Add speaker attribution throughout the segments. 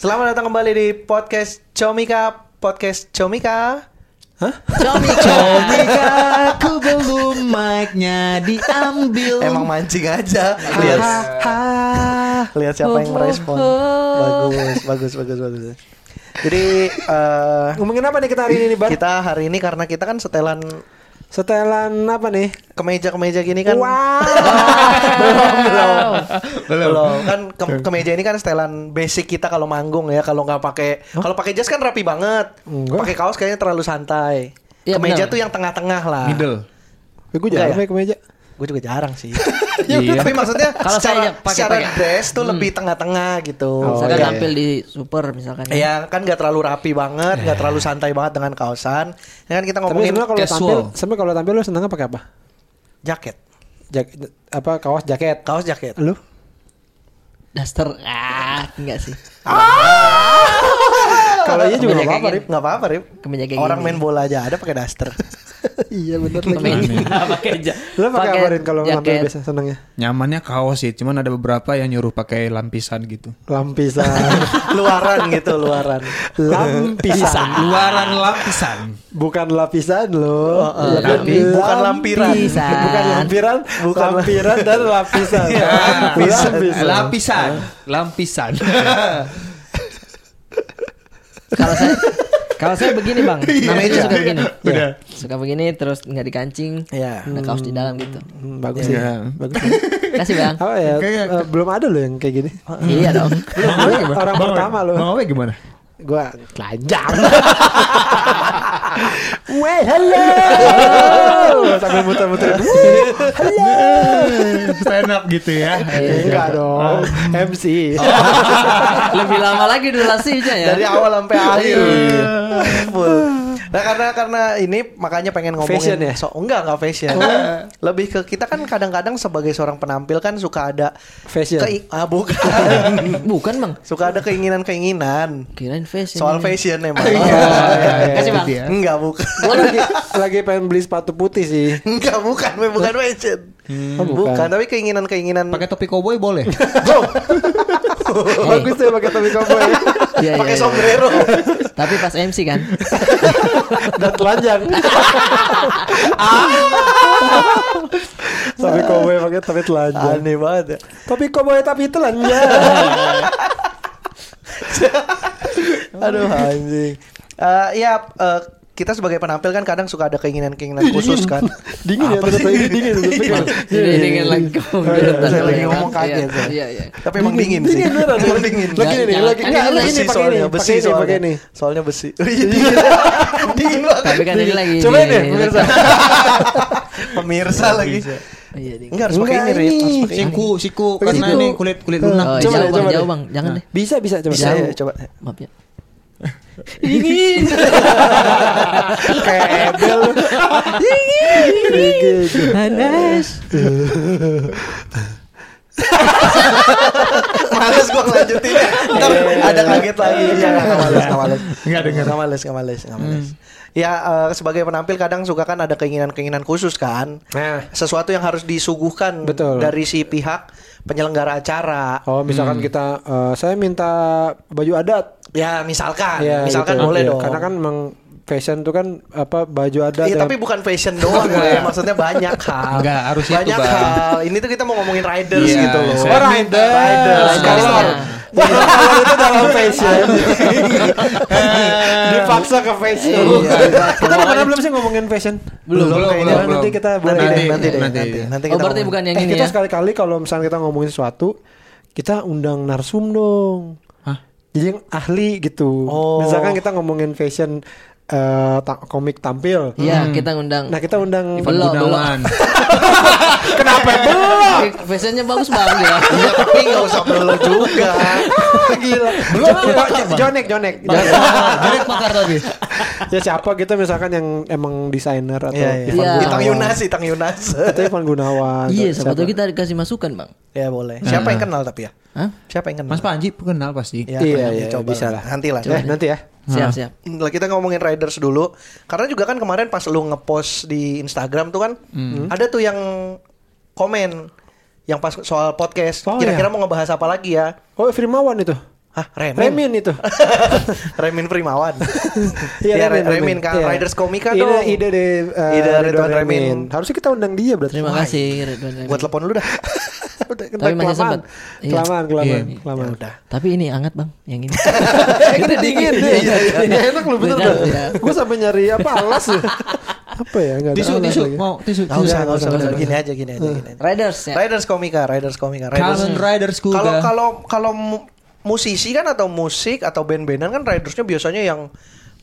Speaker 1: Selamat datang kembali di podcast Comika, podcast Comika. Hah?
Speaker 2: Comika, aku belum mic-nya diambil.
Speaker 1: Emang mancing aja. Lihat, lihat siapa yang merespon. Bagus, bagus, bagus, bagus. Jadi eh,
Speaker 3: Ngomongin apa nih kita hari ini nih, Bar?
Speaker 1: kita hari ini karena kita kan setelan
Speaker 3: Setelan apa nih?
Speaker 1: kemeja-kemeja gini kan.
Speaker 3: Wow.
Speaker 1: belum belum belum kan ke, kemeja ini kan setelan basic kita kalau manggung ya kalau nggak pakai kalau pakai jas kan rapi banget
Speaker 3: Enggak.
Speaker 1: pakai kaos kayaknya terlalu santai
Speaker 2: Iya,
Speaker 1: kemeja
Speaker 2: benar.
Speaker 1: tuh yang tengah-tengah lah
Speaker 4: Middle.
Speaker 3: Eh, gue
Speaker 1: Enggak
Speaker 3: jarang
Speaker 1: ya?
Speaker 3: naik kemeja.
Speaker 1: gue juga jarang sih
Speaker 4: Iya.
Speaker 1: Ya tapi maksudnya
Speaker 2: Kalau
Speaker 1: secara,
Speaker 2: saya pakai-
Speaker 1: secara
Speaker 2: pakai.
Speaker 1: dress tuh lebih tengah-tengah gitu
Speaker 4: Oh,
Speaker 3: Oh,
Speaker 2: Misalkan
Speaker 1: Iya.
Speaker 2: tampil di super misalkan. ya.
Speaker 1: Iya kan nggak terlalu rapi banget, nggak terlalu santai banget dengan kaosan. Ya kan kita
Speaker 3: Tapi
Speaker 1: ngomongin
Speaker 3: sebenarnya kalau
Speaker 4: casual.
Speaker 3: tampil, sebenarnya kalau tampil lu senengnya pakai apa?
Speaker 1: jaket,
Speaker 3: Jak- apa kaos jaket?
Speaker 1: kaos jaket.
Speaker 3: Lu?
Speaker 2: Daster ah enggak sih.
Speaker 3: Kalau iya juga
Speaker 2: Kemeja
Speaker 3: nggak apa-apa,
Speaker 2: kayak
Speaker 3: Rip.
Speaker 1: Nggak apa-apa, Rip.
Speaker 2: Kemeja kayak
Speaker 1: Orang
Speaker 2: gini.
Speaker 1: main bola aja ada pakai daster.
Speaker 3: Iya bener
Speaker 2: Kemeja pakai ja-
Speaker 3: Lu pakai apa Rin kalau tampil
Speaker 2: jaket.
Speaker 3: biasa senengnya?
Speaker 4: Nyamannya kaos sih, cuman ada beberapa yang nyuruh pakai lampisan gitu.
Speaker 3: Lampisan.
Speaker 1: luaran gitu, luaran.
Speaker 3: Lampisan.
Speaker 4: Luaran lapisan.
Speaker 3: Bukan lapisan lo.
Speaker 1: Iya, tapi bukan lampiran.
Speaker 2: Lampisan.
Speaker 3: Bukan lampiran,
Speaker 1: Bukan Iya,
Speaker 3: bukan lampiran dan Iya, lapisan.
Speaker 4: Lapisan.
Speaker 3: Lapisan.
Speaker 4: Lapisan. Lampisan.
Speaker 2: Kalau saya kalau saya begini bang, namanya itu
Speaker 1: Iya.
Speaker 2: suka begini,
Speaker 4: Udah.
Speaker 2: suka begini terus nggak dikancing,
Speaker 1: Iya.
Speaker 2: ada kaos di dalam gitu.
Speaker 3: Hmm, bagus sih.
Speaker 4: Iya.
Speaker 3: Bagus. ya. sih.
Speaker 2: Kasih bang,
Speaker 3: Apa ya?
Speaker 4: Kayak-
Speaker 3: eh, belum ada lo yang kayak gini.
Speaker 2: iya dong.
Speaker 3: Belum. Lu orang pertama lo.
Speaker 4: Bang Awe gimana?
Speaker 3: Gua telanjang. Weh, hello. Sambil muter-muter.
Speaker 4: Stand up gitu ya.
Speaker 2: Eh.
Speaker 3: Enggak dong. Oh, MC.
Speaker 2: Lebih lama lagi durasinya ya.
Speaker 1: Dari awal sampai akhir. Full. Nah karena karena ini makanya pengen ngomongin
Speaker 3: Fashion ya?
Speaker 1: so, enggak enggak fashion. Lebih ke kita kan kadang-kadang sebagai seorang penampil kan suka ada
Speaker 3: Fashion.
Speaker 1: kei- ah, bukan.
Speaker 2: Bukan bang,
Speaker 1: suka ada keinginan-keinginan
Speaker 2: kirain fashion.
Speaker 1: soal fashion emang.
Speaker 2: Kasih bang.
Speaker 1: Enggak bukan.
Speaker 3: Gua lagi, lagi pengen beli sepatu putih sih.
Speaker 1: Enggak bukan, Mem. bukan fashion.
Speaker 3: Oh,
Speaker 1: bukan. tapi keinginan-keinginan
Speaker 4: Pakai topi koboi boleh?
Speaker 3: Bagus tuh pakai topi cowboy
Speaker 2: Iya, iya,
Speaker 1: pakai
Speaker 2: iya.
Speaker 1: sombrero.
Speaker 2: Tapi pas MC kan.
Speaker 3: dan telanjang. Ah. Topi cowboy pakai topi telanjang.
Speaker 1: Aneh banget. ya.
Speaker 3: Topi cowboy tapi telanjang.
Speaker 1: Aduh anjing. Eh ya eh, kita sebagai penampil kan kadang suka ada keinginan-keinginan khusus kan.
Speaker 3: dingin ya terus lagi dingin terus lagi.
Speaker 2: Jadi dingin lagi
Speaker 3: Iya,
Speaker 1: Saya
Speaker 2: Saya
Speaker 1: lagi ngomong kaget, saya.
Speaker 2: Iya iya.
Speaker 1: Tapi emang dingin, sih.
Speaker 3: Dingin beneran.
Speaker 1: Emang dingin.
Speaker 3: Lagi ini,
Speaker 2: Jangan-
Speaker 3: lagi
Speaker 2: jangan
Speaker 3: ini,
Speaker 1: besi
Speaker 3: ini pakai ini,
Speaker 1: soalnya, besi
Speaker 3: pakai ini,
Speaker 1: soalnya.
Speaker 3: pakai ini. Iya.
Speaker 1: Soalnya besi. dingin. dingin banget.
Speaker 2: Tapi kan ini lagi.
Speaker 3: Coba ini,
Speaker 2: dingin.
Speaker 3: pemirsa.
Speaker 1: Pemirsa lagi.
Speaker 2: Iya dingin.
Speaker 1: Enggak harus pakai ini,
Speaker 3: Enggak,
Speaker 1: Rit.
Speaker 3: ini.
Speaker 1: Harus pakai ini.
Speaker 4: Siku, siku.
Speaker 3: Pakai
Speaker 4: Karena
Speaker 3: siku.
Speaker 4: ini kulit kulit lunak.
Speaker 2: Oh,
Speaker 3: Coba
Speaker 2: jauh
Speaker 3: deh,
Speaker 2: bang,
Speaker 3: coba
Speaker 2: jauh
Speaker 3: deh. Nah.
Speaker 2: bang, jangan deh.
Speaker 3: Bisa bisa coba.
Speaker 1: Bisa ya,
Speaker 2: Jauh.
Speaker 1: coba.
Speaker 2: Maaf ya. Dingin.
Speaker 3: Kayak ebel. lu. Dingin.
Speaker 2: Panas.
Speaker 1: Males gua lanjutin. Ntar ada kaget lagi. Iya, nggak males, nggak males.
Speaker 4: Nggak dengar.
Speaker 1: Nggak males, nggak males, nggak males. Ya eh, sebagai penampil kadang suka kan ada keinginan-keinginan khusus kan.
Speaker 3: Nah.
Speaker 1: Sesuatu yang harus disuguhkan
Speaker 3: Betul.
Speaker 1: dari si pihak penyelenggara acara.
Speaker 3: Oh, misalkan kita eh, saya minta baju adat.
Speaker 1: Ya misalkan,
Speaker 3: Ya,
Speaker 1: misalkan
Speaker 3: gitu.
Speaker 1: boleh
Speaker 3: Iya,
Speaker 1: dong.
Speaker 3: Karena kan emang fashion tuh kan apa baju adat.
Speaker 1: Iya
Speaker 3: yang-
Speaker 1: tapi bukan fashion doang gue Maksudnya banyak hal
Speaker 4: Enggak, harus itu,
Speaker 1: Banyak
Speaker 4: Bang.
Speaker 1: hal Ini tuh kita mau ngomongin riders
Speaker 4: Iya,
Speaker 1: gitu loh
Speaker 4: saya-
Speaker 3: Oh, riders.
Speaker 1: Riders,
Speaker 3: Color. Color itu dalam fashion. Dipaksa ke fashion.
Speaker 2: Iya,
Speaker 3: Kita udah pernah belum sih ngomongin fashion?
Speaker 4: Belum, belum,
Speaker 3: kayaknya.
Speaker 4: belum,
Speaker 3: Nanti
Speaker 4: belum.
Speaker 3: kita
Speaker 1: Nanti,
Speaker 3: boleh
Speaker 1: deh,
Speaker 3: deh.
Speaker 1: nanti, deh, nanti,
Speaker 4: nanti.
Speaker 1: nanti
Speaker 2: Oh
Speaker 1: kita
Speaker 2: berarti
Speaker 1: ngomongin.
Speaker 2: bukan yang
Speaker 3: Eh,
Speaker 2: ini
Speaker 3: kita
Speaker 2: ya.
Speaker 3: sekali-kali kalau misalnya kita ngomongin sesuatu, kita undang narsum dong.
Speaker 4: Hah?
Speaker 3: Jadi yang ahli gitu.
Speaker 1: Oh.
Speaker 3: Misalkan kita ngomongin fashion eh, ta- komik tampil.
Speaker 2: Iya, kita ngundang.
Speaker 3: Nah, kita undang
Speaker 4: Ivan
Speaker 2: Belum,
Speaker 4: Gunawan.
Speaker 3: kenapa belum?
Speaker 2: Fashionnya bagus bang ya.
Speaker 1: Iya tapi gak usah perlu juga
Speaker 3: Gila. Belum Jonek, Jonek. Jonek.
Speaker 4: Jadi pakar tapi.
Speaker 3: ya siapa gitu misalkan yang emang desainer atau
Speaker 1: Iya, iya.
Speaker 3: Ivan
Speaker 2: Iya.
Speaker 1: Itang
Speaker 3: Gunawan.
Speaker 1: Yunas Itang Yunas
Speaker 3: Atau Ivan Gunawan. atau
Speaker 2: Iya, siapa
Speaker 3: siapa.
Speaker 2: tahu kita dikasih masukan bang.
Speaker 1: Ya boleh Siapa yang kenal tapi ya
Speaker 2: Hah?
Speaker 1: Siapa yang kenal
Speaker 4: Mas Panji kenal pasti.
Speaker 1: Ya,
Speaker 3: Iya,
Speaker 1: nanti
Speaker 3: iya,
Speaker 1: coba
Speaker 3: bisa lah.
Speaker 1: Nanti lah
Speaker 3: Eh, nanti ya.
Speaker 2: Siap siap.
Speaker 1: lah kita ngomongin riders dulu karena juga kan kemarin pas lu ngepost di Instagram tuh kan ada tuh yang komen yang pas soal podcast
Speaker 3: Oh,
Speaker 1: kira-kira
Speaker 3: iya.
Speaker 1: mau ngebahas apa lagi ya
Speaker 3: Oh, Firmawan itu.
Speaker 1: Hah, Remin?
Speaker 3: Remin itu.
Speaker 1: Remin Primawan.
Speaker 3: Iya,
Speaker 1: Iya, Remin,
Speaker 3: Remin,
Speaker 1: Remin. Kang
Speaker 3: Iya.
Speaker 1: Riders Komika
Speaker 3: Ide-
Speaker 1: dong.
Speaker 3: Ide deh. eh,
Speaker 1: Ide
Speaker 3: Ridwan
Speaker 1: Ridwan Remin.
Speaker 3: Harusnya kita undang dia berarti.
Speaker 2: Terima
Speaker 1: Why?
Speaker 2: kasih Ridwan Remin.
Speaker 1: Gua telepon lu dah.
Speaker 3: Udah,
Speaker 2: Tapi masih
Speaker 3: kelamaan.
Speaker 2: sempet. Iya.
Speaker 3: Kelamaan, kelamaan,
Speaker 4: Iya.
Speaker 3: kelamaan.
Speaker 1: Ya udah.
Speaker 2: Tapi ini hangat bang, yang ini.
Speaker 3: Itu dingin.
Speaker 2: Iya, iya, iya.
Speaker 3: Nggak enak lu bener
Speaker 2: Beda,
Speaker 3: dah.
Speaker 2: beda.
Speaker 3: Gue sampai nyari apa alas ya. Apa ya? Nggak ada
Speaker 4: Tisu,
Speaker 3: alas
Speaker 4: tisu,
Speaker 3: lagi.
Speaker 4: mau tisu.
Speaker 1: Nggak usah, nggak
Speaker 4: tisu.
Speaker 1: usah, nggak usah. Gini aja, gini aja, gini aja.
Speaker 2: Riders ya.
Speaker 1: Riders Komika, Riders Komika,
Speaker 4: Kamen Rider Kuga.
Speaker 1: Kalau kalau kalau mu- musisi kan atau musik atau band-bandan kan ridersnya biasanya yang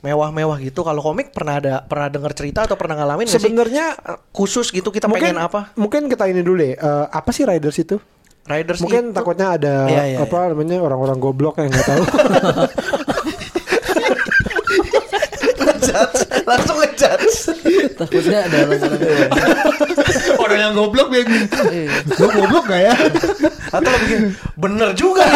Speaker 1: mewah-mewah gitu. Kalau komik pernah ada pernah dengar cerita atau pernah ngalamin nggak sih?
Speaker 3: Sebenarnya
Speaker 1: khusus gitu kita
Speaker 3: mungkin
Speaker 1: pengen apa?
Speaker 3: Mungkin kita ini dulu deh. eh, apa sih riders itu?
Speaker 1: Riders
Speaker 3: Mungkin
Speaker 1: itu-
Speaker 3: takutnya ada
Speaker 1: Iya, iya,
Speaker 3: apa namanya orang-orang goblok yang nggak tahu.
Speaker 1: Ngejudge, langsung ngejudge.
Speaker 2: Takutnya ada orang-orang.
Speaker 4: Orang yang goblok dia
Speaker 2: Iya.
Speaker 4: Lu goblok gak ya?
Speaker 1: Atau lo bikin bener juga.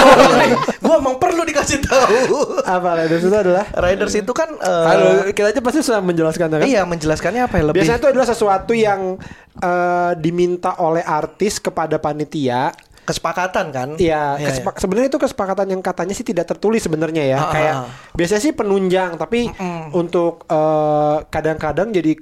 Speaker 1: Gue emang perlu dikasih tahu.
Speaker 3: apa riders itu adalah?
Speaker 1: Riders itu kan eh,
Speaker 3: Aduh, kita aja pasti sudah menjelaskan kan?
Speaker 1: iya menjelaskannya apa ya lebih
Speaker 3: Biasanya itu adalah sesuatu yang eh, diminta oleh artis kepada panitia.
Speaker 1: kesepakatan kan?
Speaker 3: Ya,
Speaker 1: Iya,
Speaker 3: kesepa- sebenarnya itu kesepakatan yang katanya sih tidak tertulis sebenarnya ya.
Speaker 1: Ah,
Speaker 3: Kayak
Speaker 1: ah, ah.
Speaker 3: biasanya sih penunjang, tapi untuk eh, kadang-kadang jadi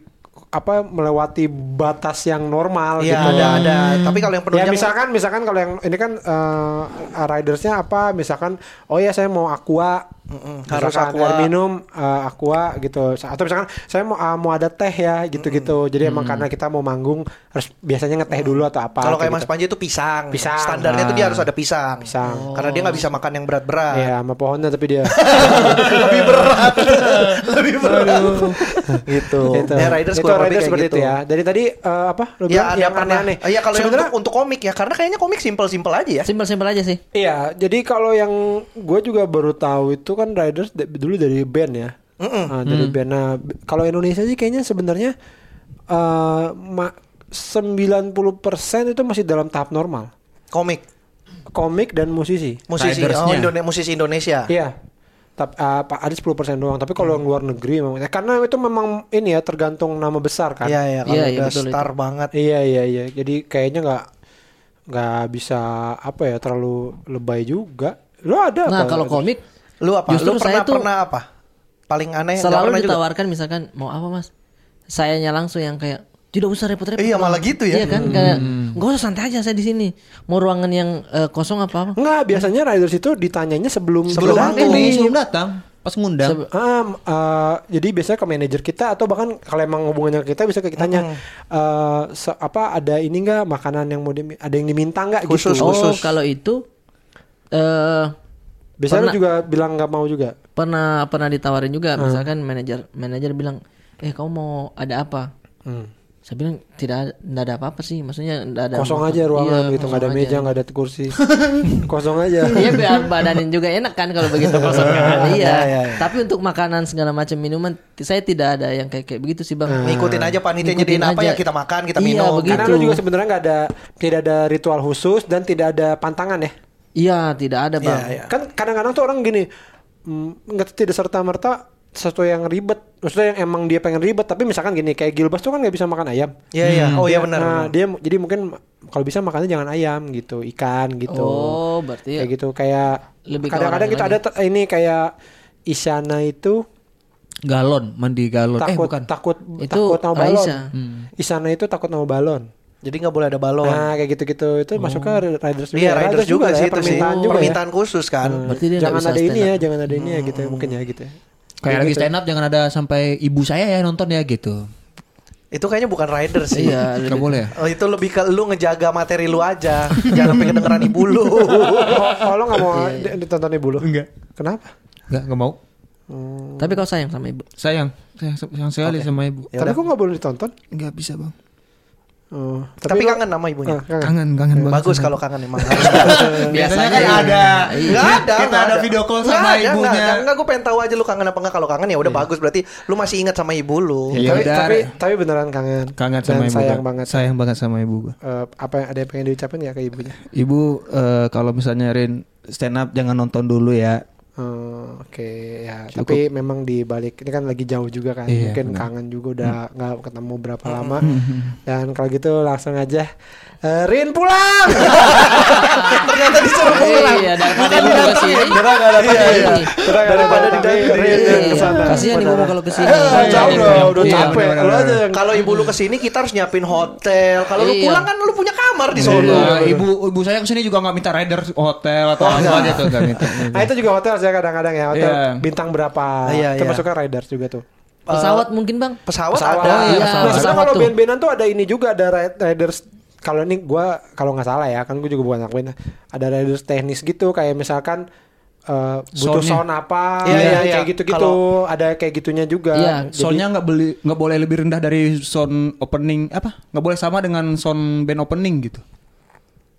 Speaker 3: apa melewati batas yang normal
Speaker 1: Iya,
Speaker 3: gitu.
Speaker 1: ada ada. Tapi kalau yang
Speaker 3: Ya
Speaker 1: penunjang
Speaker 3: misalkan misalkan kalau yang ini kan eh, ridersnya apa misalkan oh ya saya mau aqua
Speaker 1: Mm-mm,
Speaker 3: Misalkan
Speaker 1: harus aqua.
Speaker 3: air minum eh, aqua gitu atau misalkan saya mau ah, mau ada teh ya gitu-gitu jadi emang karena kita mau manggung harus biasanya ngeteh dulu atau apa
Speaker 1: Kalau kayak Mas
Speaker 3: gitu.
Speaker 1: Panji itu pisang.
Speaker 3: Pisang.
Speaker 1: Standarnya tuh dia harus ada pisang.
Speaker 3: Pisang.
Speaker 1: Karena dia nggak bisa makan yang berat-berat.
Speaker 3: Iya, sama pohonnya tapi dia
Speaker 1: Lebih berat. Lebih berat. gitu.
Speaker 3: gitu.
Speaker 1: Ya riders
Speaker 3: itu
Speaker 1: kurang lebih
Speaker 3: riders
Speaker 1: kayak
Speaker 3: seperti
Speaker 1: gitu.
Speaker 3: itu ya. Dari tadi eh, apa? Lu
Speaker 1: Ya
Speaker 3: bilang
Speaker 1: ada
Speaker 3: yang
Speaker 1: pernah.
Speaker 3: aneh-aneh.
Speaker 1: Iya kalau yang
Speaker 3: Sebenarnya-
Speaker 1: untuk, untuk komik ya karena kayaknya komik simpel-simpel aja ya.
Speaker 2: Simpel-simpel aja sih.
Speaker 3: Iya, jadi kalau yang gue juga baru tahu itu kan Riders da- dulu dari band ya. Nah, dari
Speaker 2: Mm.
Speaker 3: band. Nah, b- kalau Indonesia sih kayaknya sebenarnya eh ma- 90% itu masih dalam tahap normal.
Speaker 1: Komik.
Speaker 3: Komik dan musisi.
Speaker 1: Musisi oh,
Speaker 4: Ridersnya.
Speaker 1: Indone- musisi Indonesia.
Speaker 3: Iya. Tapi apa ada 10% doang, tapi kalau yang luar negeri memang ya, karena itu memang ini ya tergantung nama besar kan.
Speaker 1: Iya iya kalau
Speaker 2: Iya, iya,
Speaker 1: udah
Speaker 2: betul itu.
Speaker 1: star banget.
Speaker 3: Iya iya iya. Jadi kayaknya nggak nggak bisa apa ya terlalu lebay juga. Lo ada
Speaker 2: Nah
Speaker 3: apa?
Speaker 2: kalau komik
Speaker 1: Lu apa?
Speaker 2: Justru
Speaker 1: lu
Speaker 2: saya
Speaker 1: pernah
Speaker 2: tuh-
Speaker 1: pernah apa? Paling aneh Eh, nggak pernah
Speaker 2: selalu
Speaker 1: juga?
Speaker 2: ditawarkan misalkan mau apa mas? Sayanya langsung yang kayak tidak usah repot-repot.
Speaker 1: Iya,
Speaker 2: Bang."
Speaker 1: malah gitu ya.
Speaker 2: Iya kan
Speaker 3: Hmm.
Speaker 2: kayak nggak usah santai aja saya di sini. Mau ruangan yang eh, kosong apa apa?
Speaker 3: Enggak, biasanya riders itu ditanyanya sebelum
Speaker 1: Sebelum
Speaker 3: datang.
Speaker 1: manggung.
Speaker 4: ini sebelum datang pas ngundang.
Speaker 2: Sebe-
Speaker 3: Ah, m- eh, jadi biasanya ke manajer kita atau bahkan kalau emang hubungannya ke kita bisa ke kitanya eh, se- apa ada ini enggak makanan yang mau di, ada yang diminta enggak
Speaker 1: Khusus,
Speaker 3: gitu.
Speaker 2: Oh
Speaker 1: khusus.
Speaker 2: kalau itu eh
Speaker 3: biasanya lu
Speaker 2: pernah-
Speaker 3: juga bilang nggak mau juga.
Speaker 2: pernah pernah ditawarin juga
Speaker 1: Hmm.
Speaker 2: misalkan manajer manajer bilang eh kamu mau ada apa
Speaker 3: Hmm.
Speaker 2: saya bilang tidak ada, nggak ada apa-apa sih maksudnya nggak ada
Speaker 3: Kosong aja ruangan gitu, nggak ada meja, nggak ada kursi. kosong aja.
Speaker 2: Iya biar badanin juga enak kan kalau begitu kosong kan. Iya.
Speaker 1: iya, iya.
Speaker 2: Tapi untuk makanan segala macam minuman t- saya tidak ada yang kayak kayak begitu sih Bang.
Speaker 1: Ngikutin aja panitia nyediain
Speaker 2: Ngikutin
Speaker 1: apa
Speaker 2: aja.
Speaker 1: ya kita makan, kita
Speaker 2: Iya,
Speaker 1: minum.
Speaker 2: begitu.
Speaker 3: Karena lu juga sebenarnya nggak ada tidak ada ritual khusus dan tidak ada pantangan ya.
Speaker 2: Iya, tidak ada Bang.
Speaker 1: Iya, iya.
Speaker 3: Kan kadang-kadang tuh orang gini mm, nggak tidak serta merta sesuatu yang ribet, maksudnya yang emang dia pengen ribet, tapi misalkan gini kayak Gilbas tuh kan nggak bisa makan ayam.
Speaker 1: Iya iya. Oh iya benar.
Speaker 3: Nah,
Speaker 1: benar.
Speaker 3: dia mu- jadi mungkin ma- kalau bisa makannya jangan ayam gitu, ikan gitu.
Speaker 2: Oh, berarti
Speaker 3: Kayak gitu kayak
Speaker 2: Lebih ke
Speaker 3: kadang-kadang
Speaker 2: orang
Speaker 3: kita
Speaker 2: lain
Speaker 3: ada ter- ini kayak Isyana itu
Speaker 4: Galon, mandi galon. eh
Speaker 3: takut
Speaker 4: bukan. Hmm.
Speaker 3: takut
Speaker 2: Itu
Speaker 3: takut sama balon.
Speaker 2: Raisa.
Speaker 3: Isana itu takut sama balon.
Speaker 1: Jadi nggak boleh ada balon.
Speaker 3: Nah, kayak gitu-gitu itu masuk
Speaker 4: Oh.
Speaker 3: ke riders juga.
Speaker 1: Iya, riders juga,
Speaker 3: ya,
Speaker 1: sih itu sih.
Speaker 3: permintaan juga. ya.
Speaker 1: Permintaan khusus kan.
Speaker 3: Nah,
Speaker 2: Hmm, Berarti dia nggak
Speaker 3: jangan
Speaker 2: bisa
Speaker 3: ada
Speaker 2: stand
Speaker 3: ini
Speaker 2: up. Hmm.
Speaker 3: ya, jangan ada ini ya gitu ya, mungkin ya gitu ya.
Speaker 4: Kayak lagi stand up jangan ada sampai ibu saya ya nonton ya gitu.
Speaker 1: Itu kayaknya bukan rider sih.
Speaker 2: Iya,
Speaker 4: Gak
Speaker 2: lebih-
Speaker 4: boleh ya?
Speaker 1: Oh, itu lebih ke lu ngejaga materi lu aja. Jangan sampai kedengeran ibu lu.
Speaker 3: Oh, lo nggak mau
Speaker 2: Iya.
Speaker 3: di- ditonton ibu lo?
Speaker 4: Enggak.
Speaker 3: Kenapa?
Speaker 4: Gak, gak mau.
Speaker 2: Tapi kau sayang sama ibu.
Speaker 4: Sayang, sayang, sayang sekali sama ibu.
Speaker 1: Ya udah.
Speaker 3: Tapi kok nggak boleh ditonton?
Speaker 4: Gak bisa bang.
Speaker 3: Oh,
Speaker 1: Tapi
Speaker 3: lo-
Speaker 1: kangen sama ibunya.
Speaker 3: Ah,
Speaker 4: Kangen,
Speaker 3: kangen.
Speaker 4: kangen banget.
Speaker 1: Bagus
Speaker 4: sama
Speaker 1: kalau kangen emang. Harus.
Speaker 4: Biasanya kan ada.
Speaker 1: Enggak ada.
Speaker 4: Kita
Speaker 1: nggak
Speaker 4: ada video call sama
Speaker 1: Nggak ada,
Speaker 4: ibunya.
Speaker 1: nggak ada. Nggak, gue pengen tahu aja lu kangen apa enggak. Kalau kangen ya udah bagus berarti lu masih ingat sama ibu lu.
Speaker 4: Iya,
Speaker 3: tapi,
Speaker 4: udah.
Speaker 3: tapi, tapi beneran kangen.
Speaker 4: Kangen sama
Speaker 3: Dan
Speaker 4: ibu.
Speaker 3: sayang
Speaker 4: Bang.
Speaker 3: banget.
Speaker 4: Sayang banget sama ibu. Bang.
Speaker 3: Eh, apa yang ada yang pengen diucapin ya ke ibunya?
Speaker 4: Ibu eh, kalau misalnya Rin stand up jangan nonton dulu ya.
Speaker 3: Oh, Oke ya, tapi memang di balik ini kan lagi jauh juga kan,
Speaker 4: Iya,
Speaker 3: mungkin
Speaker 4: benar. Hmm.
Speaker 3: kangen juga udah nggak ketemu berapa lama. Dan kalau gitu langsung aja "Eh, Rin pulang.
Speaker 1: Ternyata disuruh pulang.
Speaker 2: Iya, daripada ibu gua sih.
Speaker 3: Beneran nggak dapat
Speaker 1: Iya,
Speaker 3: Rin.
Speaker 2: iya.
Speaker 3: Beneran
Speaker 1: Daripada
Speaker 3: nggak dapat
Speaker 1: didatengin,
Speaker 3: Rin. Rin,
Speaker 1: Rin,
Speaker 3: Rin,
Speaker 2: Iya,
Speaker 3: kesana.
Speaker 2: Kasihan ibu gua kalau kesini.
Speaker 3: Eh, jauh
Speaker 2: Iya,
Speaker 3: udah,
Speaker 2: iya.
Speaker 3: udah
Speaker 4: Iya,
Speaker 3: capek.
Speaker 4: bener-bener.
Speaker 3: Lu aja yang
Speaker 1: Kalau ibu lu kesini kita harus nyiapin hotel. Kalau lu
Speaker 2: Iya.
Speaker 1: pulang kan lu punya kamar di Solo.
Speaker 4: Iya, ibu ibu saya kesini juga nggak minta rider hotel atau apa gitu nggak minta.
Speaker 3: Ah itu juga hotel saya kadang-kadang ya hotel
Speaker 4: Iya.
Speaker 3: bintang berapa
Speaker 1: Iya, iya.
Speaker 3: termasuknya riders juga tuh
Speaker 2: Pesawat mungkin bang.
Speaker 1: Pesawat,
Speaker 3: pesawat
Speaker 1: ada.
Speaker 2: Oh, iya.
Speaker 3: Nah, sebenarnya
Speaker 2: pesawat
Speaker 3: kalau
Speaker 2: tuh.
Speaker 3: band-bandan tuh ada ini juga ada ri- riders kalau ini gua kalau nggak salah ya kan gue juga bukan anak band ada riders teknis gitu kayak misalkan eh, butuh
Speaker 4: Soundnya.
Speaker 3: sound apa
Speaker 1: Iya, iya, iya.
Speaker 3: kayak gitu-gitu
Speaker 1: Kalau-
Speaker 3: ada kayak gitunya juga
Speaker 2: Iya,
Speaker 3: Jadi-
Speaker 4: Soundnya nggak beli nggak boleh lebih rendah dari sound opening apa nggak boleh sama dengan sound band opening gitu.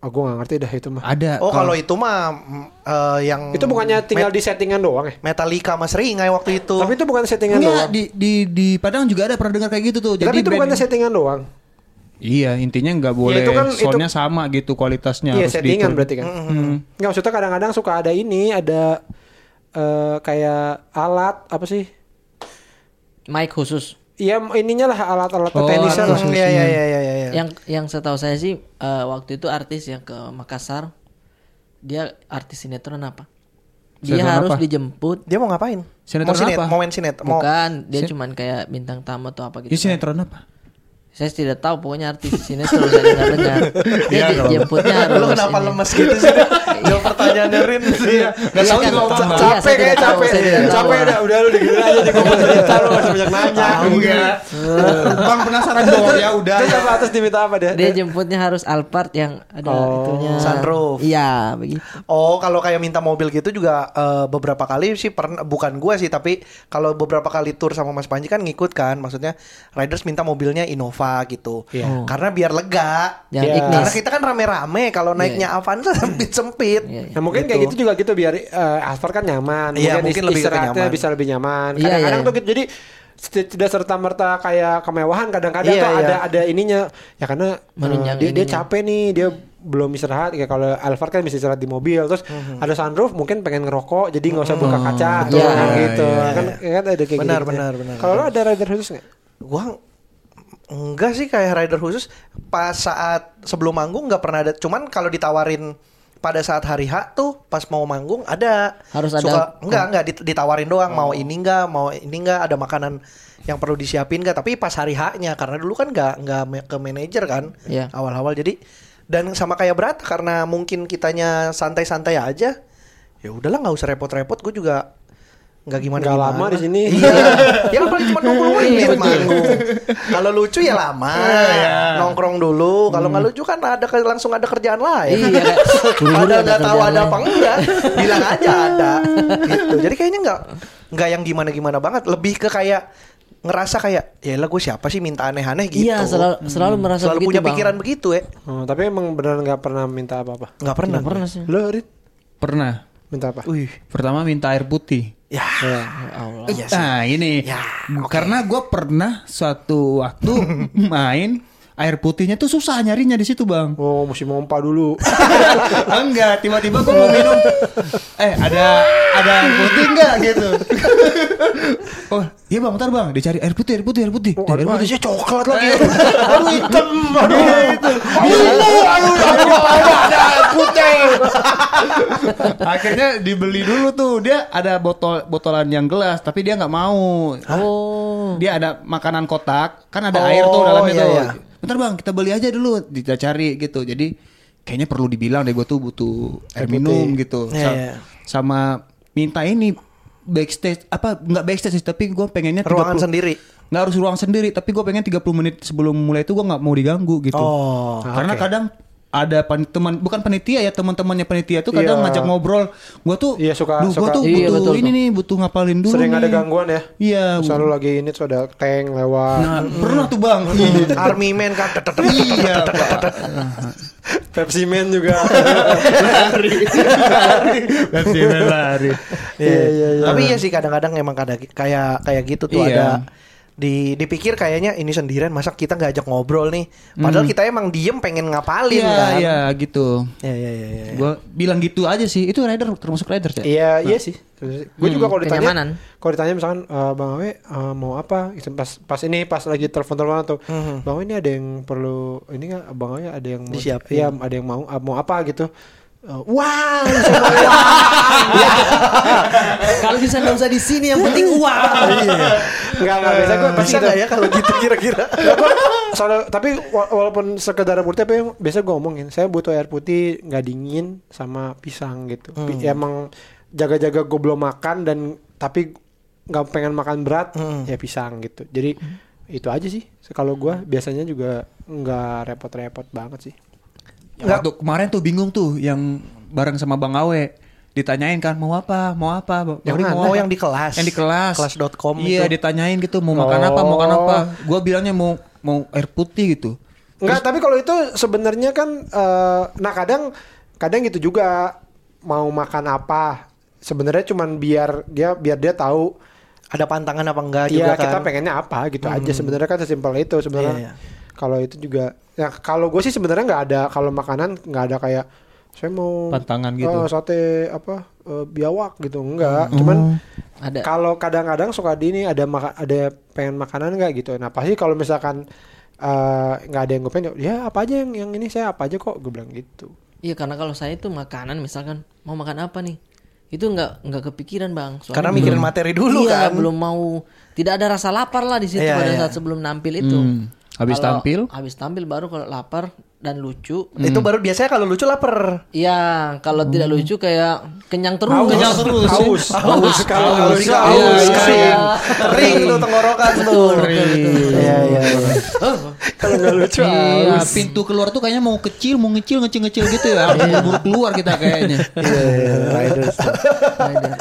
Speaker 3: oh, gue nggak ngerti dah itu mah
Speaker 4: Ada.
Speaker 1: Oh kalau itu mah mm, eh, yang
Speaker 3: itu bukannya tinggal di settingan doang ya
Speaker 1: Metallica Mas Ringai waktu itu.
Speaker 3: tapi itu bukan settingan
Speaker 4: Enggak,
Speaker 3: doang
Speaker 4: di di di Padang juga ada pernah dengar kayak gitu tuh.
Speaker 3: tapi itu
Speaker 4: band-
Speaker 3: bukannya settingan doang
Speaker 4: Iya, intinya nggak boleh
Speaker 3: itu kan- itu-
Speaker 4: soundnya sama gitu Hmm. kualitasnya
Speaker 3: Iya
Speaker 4: harus
Speaker 3: settingan
Speaker 4: diitur.
Speaker 3: berarti kan. Nggak maksudnya kadang-kadang suka ada ini ada eh, kayak alat apa sih?
Speaker 2: Mic khusus.
Speaker 3: Iya ininya lah alat-alat
Speaker 4: Oh,
Speaker 3: tenis
Speaker 4: alat
Speaker 3: lah.
Speaker 1: Hmm, Iya iya iya iya iya.
Speaker 2: Yang yang setahu saya sih eh, waktu itu artis yang ke Makassar dia artis sinetron apa? Dia
Speaker 4: Sinetron
Speaker 2: harus
Speaker 4: apa?
Speaker 2: dijemput.
Speaker 1: Dia mau ngapain?
Speaker 4: Sinetron
Speaker 1: mau sinet,
Speaker 4: apa?
Speaker 1: mau main sinet, mau
Speaker 2: Bukan, dia cuman kayak bintang tamu atau apa
Speaker 4: Ini
Speaker 2: gitu. kan.
Speaker 4: Iya, sinetron apa?
Speaker 2: Saya tidak tahu pokoknya artis sinetron saya dengar-dengar. Dia dijemputnya harus
Speaker 1: Lu kenapa
Speaker 2: ini.
Speaker 1: lemes gitu sih? Jawab pertanyaan Rin. Iya.
Speaker 4: Nggak tahu juga
Speaker 2: Iya, kan.
Speaker 4: apa.
Speaker 2: Iya, saya
Speaker 3: Capek kayak
Speaker 2: tidak tahu,
Speaker 3: capek.
Speaker 2: saya tidak tahu.
Speaker 3: Capek udah udah lu digila aja di komen cerita lu masih banyak nanya.
Speaker 4: Enggak. Bang penasaran doang ya udah.
Speaker 3: Terus apa atas diminta apa dia?
Speaker 2: Dia jemputnya harus Alphard yang ada itunya.
Speaker 1: sunroof.
Speaker 2: Iya, begitu.
Speaker 1: Oh, kalau kayak minta mobil gitu juga eh, beberapa kali sih pernah bukan gua sih, tapi kalau beberapa kali tour sama Mas Panji kan ngikut kan, maksudnya riders minta mobilnya Innova gitu.
Speaker 2: Iya.
Speaker 1: Karena biar lega.
Speaker 2: Jangan
Speaker 3: Iya.
Speaker 2: Ignis.
Speaker 1: Karena kita kan rame-rame kalau naiknya Avanza sempit-sempit.
Speaker 2: Iya, iya.
Speaker 3: Nah mungkin kayak gitu juga gitu biar eh, Asfar kan nyaman,
Speaker 1: Iya, mungkin
Speaker 3: mungkin,
Speaker 1: lebih ke
Speaker 3: istirahatnya
Speaker 1: kenyaman.
Speaker 3: bisa lebih nyaman.
Speaker 2: Iya,
Speaker 3: Kadang-kadang
Speaker 2: iya,
Speaker 3: tuh gitu, jadi seti- tidak serta merta kayak kemewahan kadang-kadang
Speaker 1: Iya,
Speaker 3: tuh
Speaker 1: iya.
Speaker 3: ada ada ininya ya karena eh,
Speaker 2: Menunjang
Speaker 3: dia, dia
Speaker 2: ininya.
Speaker 3: capek nih dia belum istirahat kayak kalau Alphard kan bisa istirahat di mobil terus ada sunroof mungkin pengen ngerokok jadi nggak usah buka kaca kan
Speaker 2: betul.
Speaker 1: Mhm. Iya,
Speaker 3: gitu
Speaker 1: iya,
Speaker 3: kan, kan ada kayak
Speaker 1: Benar,
Speaker 3: gitu
Speaker 1: benar, benar.
Speaker 3: kalau lo ada rider khusus nggak
Speaker 1: gua enggak sih kayak rider khusus pas saat sebelum manggung nggak pernah ada cuman kalau ditawarin pada saat hari H tuh pas mau manggung ada
Speaker 2: Harus ada- Oh.
Speaker 1: Suka- enggak enggak dit- ditawarin doang mau ini enggak mau ini enggak ada makanan yang perlu disiapin enggak tapi pas hari H-nya karena dulu kan enggak enggak me- ke manajer kan
Speaker 2: Iya.
Speaker 1: awal-awal jadi dan sama kayak berat karena mungkin kitanya santai-santai aja ya udahlah nggak usah repot-repot gue juga nggak gimana
Speaker 3: Nggak lama di sini.
Speaker 1: iya ya kan paling cuma
Speaker 2: Iya,
Speaker 1: 20 menit manggung kalau lucu ya lama
Speaker 2: Iya.
Speaker 1: nongkrong dulu kalau nggak lucu kan ada ke- langsung ada kerjaan lain
Speaker 2: Hmm. Iya, buru-buru
Speaker 1: padahal
Speaker 2: ada
Speaker 1: nggak tahu
Speaker 2: kerjaan
Speaker 1: ada apa
Speaker 2: lain.
Speaker 1: enggak bilang aja ada gitu jadi kayaknya nggak nggak yang gimana gimana banget lebih ke kayak ngerasa kayak ya lah gue siapa sih minta aneh-aneh gitu
Speaker 2: Iya, selalu selalu merasa
Speaker 1: Selalu
Speaker 2: begitu,
Speaker 1: punya
Speaker 2: Bang.
Speaker 1: pikiran begitu ya
Speaker 3: Oh, tapi emang benar nggak pernah minta apa-apa
Speaker 1: nggak pernah
Speaker 2: Nggak pernah sih.
Speaker 3: lo Rit
Speaker 4: Pernah.
Speaker 3: minta apa
Speaker 1: Wih,
Speaker 4: Pertama minta air putih.
Speaker 1: ya
Speaker 2: Ya Allah.
Speaker 4: Nah ini
Speaker 1: Ya,
Speaker 4: karena gue pernah suatu waktu main air putihnya tuh susah nyarinya di situ bang.
Speaker 3: oh mesti mompa dulu
Speaker 4: enggak tiba-tiba gue mau minum eh ada ada air putih enggak gitu oh iya bang bentar bang dicari air putih air putih air putih
Speaker 3: Oh,
Speaker 4: air
Speaker 3: aduh,
Speaker 4: putih
Speaker 3: aja coklat lagi.
Speaker 4: Eh.
Speaker 3: aduh hitam, aduh itu. Aduh, aduh, aduh, aduh, ada air putih.
Speaker 4: akhirnya dibeli dulu tuh dia ada botol botolan yang gelas tapi dia nggak mau
Speaker 2: Oh.
Speaker 4: dia ada makanan kotak kan ada
Speaker 1: Oh,
Speaker 4: air tuh dalamnya
Speaker 1: iya,
Speaker 4: tuh
Speaker 1: iya.
Speaker 4: bentar bang kita beli aja dulu kita cari gitu jadi kayaknya perlu dibilang deh gue tuh butuh air, minum gitu
Speaker 1: Iya,
Speaker 4: Sa-
Speaker 1: iya.
Speaker 4: sama minta ini backstage apa nggak backstage sih tapi gue pengennya
Speaker 1: ruangan
Speaker 4: 30
Speaker 1: sendiri
Speaker 4: nggak harus ruang sendiri tapi gue pengen 30 menit sebelum mulai itu gue nggak mau diganggu gitu
Speaker 1: Oh,
Speaker 4: karena kadang ada pan- teman bukan panitia ya teman-temannya panitia tuh kadang
Speaker 3: Iya.
Speaker 4: ngajak ngobrol gue tuh
Speaker 3: Iya, suka-
Speaker 4: duh, gua
Speaker 3: suka-
Speaker 4: tuh
Speaker 2: Iya,
Speaker 4: butuh
Speaker 2: betul,
Speaker 4: ini
Speaker 2: tuh.
Speaker 4: nih butuh ngapalin dulu
Speaker 3: Sering ada
Speaker 4: nih."
Speaker 3: gangguan ya?
Speaker 4: iya
Speaker 3: Selalu lagi ini tuh ada tank lewat.
Speaker 4: nah pernah tuh bang
Speaker 3: Iya,
Speaker 1: army man kan
Speaker 4: iya Pak.
Speaker 3: Pepsi Man juga.
Speaker 4: lari lari lari
Speaker 1: iya Tapi iya sih kadang-kadang emang kada, kayak kayak gitu tuh
Speaker 4: Iya.
Speaker 1: ada di dipikir kayaknya ini sendirian masa kita nggak ajak ngobrol nih padahal kita emang diem pengen ngapalin
Speaker 4: Iya,
Speaker 1: kan
Speaker 4: iya gitu.
Speaker 1: ya ya ya, ya.
Speaker 4: Gue bilang gitu aja sih. Itu rider termasuk rider ya?
Speaker 3: Iya, iya sih. Gue juga kalau ditanya,
Speaker 2: kenyamanan.
Speaker 3: kalau ditanya misalkan eh, Bang Awe eh, mau apa? Gitu, Pas pas ini pas lagi telepon-telepon atau Bang Awe ini ada yang perlu ini nggak Bang Awe ada yang mau,
Speaker 1: Disiapin.
Speaker 3: Iya, ada yang mau ah, mau apa gitu. Eh, wah,
Speaker 2: Kalau bisa nggak usah di sini yang penting uang.
Speaker 3: nggak nggak biasa gue pasti
Speaker 1: bisa
Speaker 3: gitu.
Speaker 1: nggak ya kalau gitu kira-kira
Speaker 3: Soalnya, tapi wa- walaupun sekedar air putih apa yang biasa gue ngomongin, saya butuh air putih nggak dingin sama pisang gitu. Pi- Emang jaga-jaga gue belum makan dan tapi nggak pengen makan berat ya pisang gitu. Jadi itu aja sih. Kalau gue biasanya juga nggak repot-repot banget sih.
Speaker 1: Nggak.
Speaker 4: Waktu kemarin tuh bingung tuh yang bareng sama Bang Awe ditanyain kan mau apa mau apa Bang
Speaker 1: Yang
Speaker 4: Awe
Speaker 1: mana?
Speaker 4: mau
Speaker 1: Oh,
Speaker 4: apa?"
Speaker 1: yang di kelas.
Speaker 4: yang di kelas
Speaker 1: Kelas.com
Speaker 4: iya
Speaker 1: itu.
Speaker 4: ditanyain gitu mau makan apa mau makan apa gue bilangnya mau mau air putih gitu
Speaker 3: Enggak, tapi kalau itu sebenarnya kan eh, nah kadang kadang gitu juga mau makan apa sebenarnya cuman biar dia biar dia tahu
Speaker 1: ada pantangan apa enggak juga kan
Speaker 3: Iya
Speaker 1: Hmm.
Speaker 3: kita pengennya apa gitu aja sebenarnya kan sesimpel itu sebenarnya
Speaker 1: Iya, iya.
Speaker 3: kalau itu juga ya kalau gue sih sebenarnya nggak ada kalau makanan nggak ada kayak saya mau
Speaker 4: Pantangan gitu.
Speaker 3: eh, sate apa eh, biawak gitu
Speaker 1: Hmm.
Speaker 3: enggak cuman
Speaker 1: Oh.
Speaker 2: Ada.
Speaker 3: kalau kadang-kadang suka di ini ada maka- ada pengen makanan nggak gitu nah pasti kalau misalkan eh, nggak ada yang gue pengen ya apa aja yang yang ini saya apa aja kok gue bilang gitu
Speaker 2: Iya karena kalau saya itu makanan misalkan mau makan apa nih itu nggak nggak kepikiran bang. Soalnya
Speaker 1: karena
Speaker 2: belum-
Speaker 1: mikirin materi dulu
Speaker 2: Hmm. iya,
Speaker 1: kan
Speaker 2: belum mau tidak ada rasa lapar lah di situ
Speaker 1: Iya,
Speaker 2: pada
Speaker 1: iya.
Speaker 2: saat sebelum nampil itu.
Speaker 4: Hmm. Habis
Speaker 2: Kalau
Speaker 4: tampil?
Speaker 2: Habis tampil baru kalau lapar dan lucu.
Speaker 1: itu baru biasanya kalau lucu lapar
Speaker 2: Iya, kalau tidak
Speaker 4: Hmm.
Speaker 2: lucu kayak kenyang terus.
Speaker 4: Kenyang terus.
Speaker 3: haus haus kalau haus
Speaker 1: Bisa
Speaker 3: haus.
Speaker 1: haus,
Speaker 2: iya,
Speaker 1: kering.
Speaker 2: iya.
Speaker 1: kan. kering tuh tenggorokan tuh iya iya iya.
Speaker 3: kalau nggak lucu
Speaker 4: Iya, pintu keluar tuh kayaknya mau kecil, mau ngecil, ngecil, ngecil gitu ya. Harus buru keluar kita kayaknya.
Speaker 3: Iya, Nah,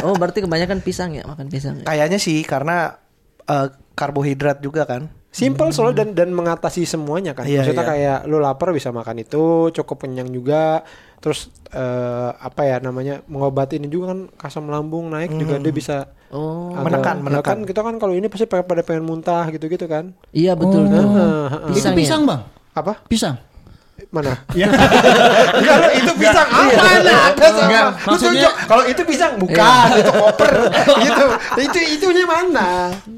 Speaker 2: Oh, berarti kebanyakan pisang ya, makan pisang. Ya.
Speaker 1: kayaknya sih karena eh, karbohidrat juga kan
Speaker 3: Simple soalnya dan dan mengatasi semuanya kan.
Speaker 1: Iya,
Speaker 3: Maksudnya
Speaker 1: iya.
Speaker 3: kayak lu lapar bisa makan itu, cukup kenyang juga. Terus eh, apa ya namanya mengobati ini juga kan kasam lambung naik juga dia bisa
Speaker 2: Oh,
Speaker 1: Hmm.
Speaker 3: agak-
Speaker 1: Menekan,
Speaker 3: ya
Speaker 1: menekan.
Speaker 3: kan kita kan kalau ini pasti pada, pada pengen muntah gitu-gitu kan. Eh,
Speaker 2: iya betul tuh.
Speaker 1: Hmm.
Speaker 4: Itu
Speaker 2: Pisang, ya?
Speaker 4: pisang bang,
Speaker 3: Apa?
Speaker 4: pisang.
Speaker 3: Mana?
Speaker 1: Ya.
Speaker 3: Enggak, lu itu pisang apa
Speaker 1: iya.
Speaker 3: nah? Ada sama.
Speaker 4: Enggak,
Speaker 3: Lu
Speaker 4: maksudnya-
Speaker 3: tunjuk, kalau itu pisang bukan, itu koper. gitu. Itu itunya
Speaker 1: Nah,
Speaker 3: mana?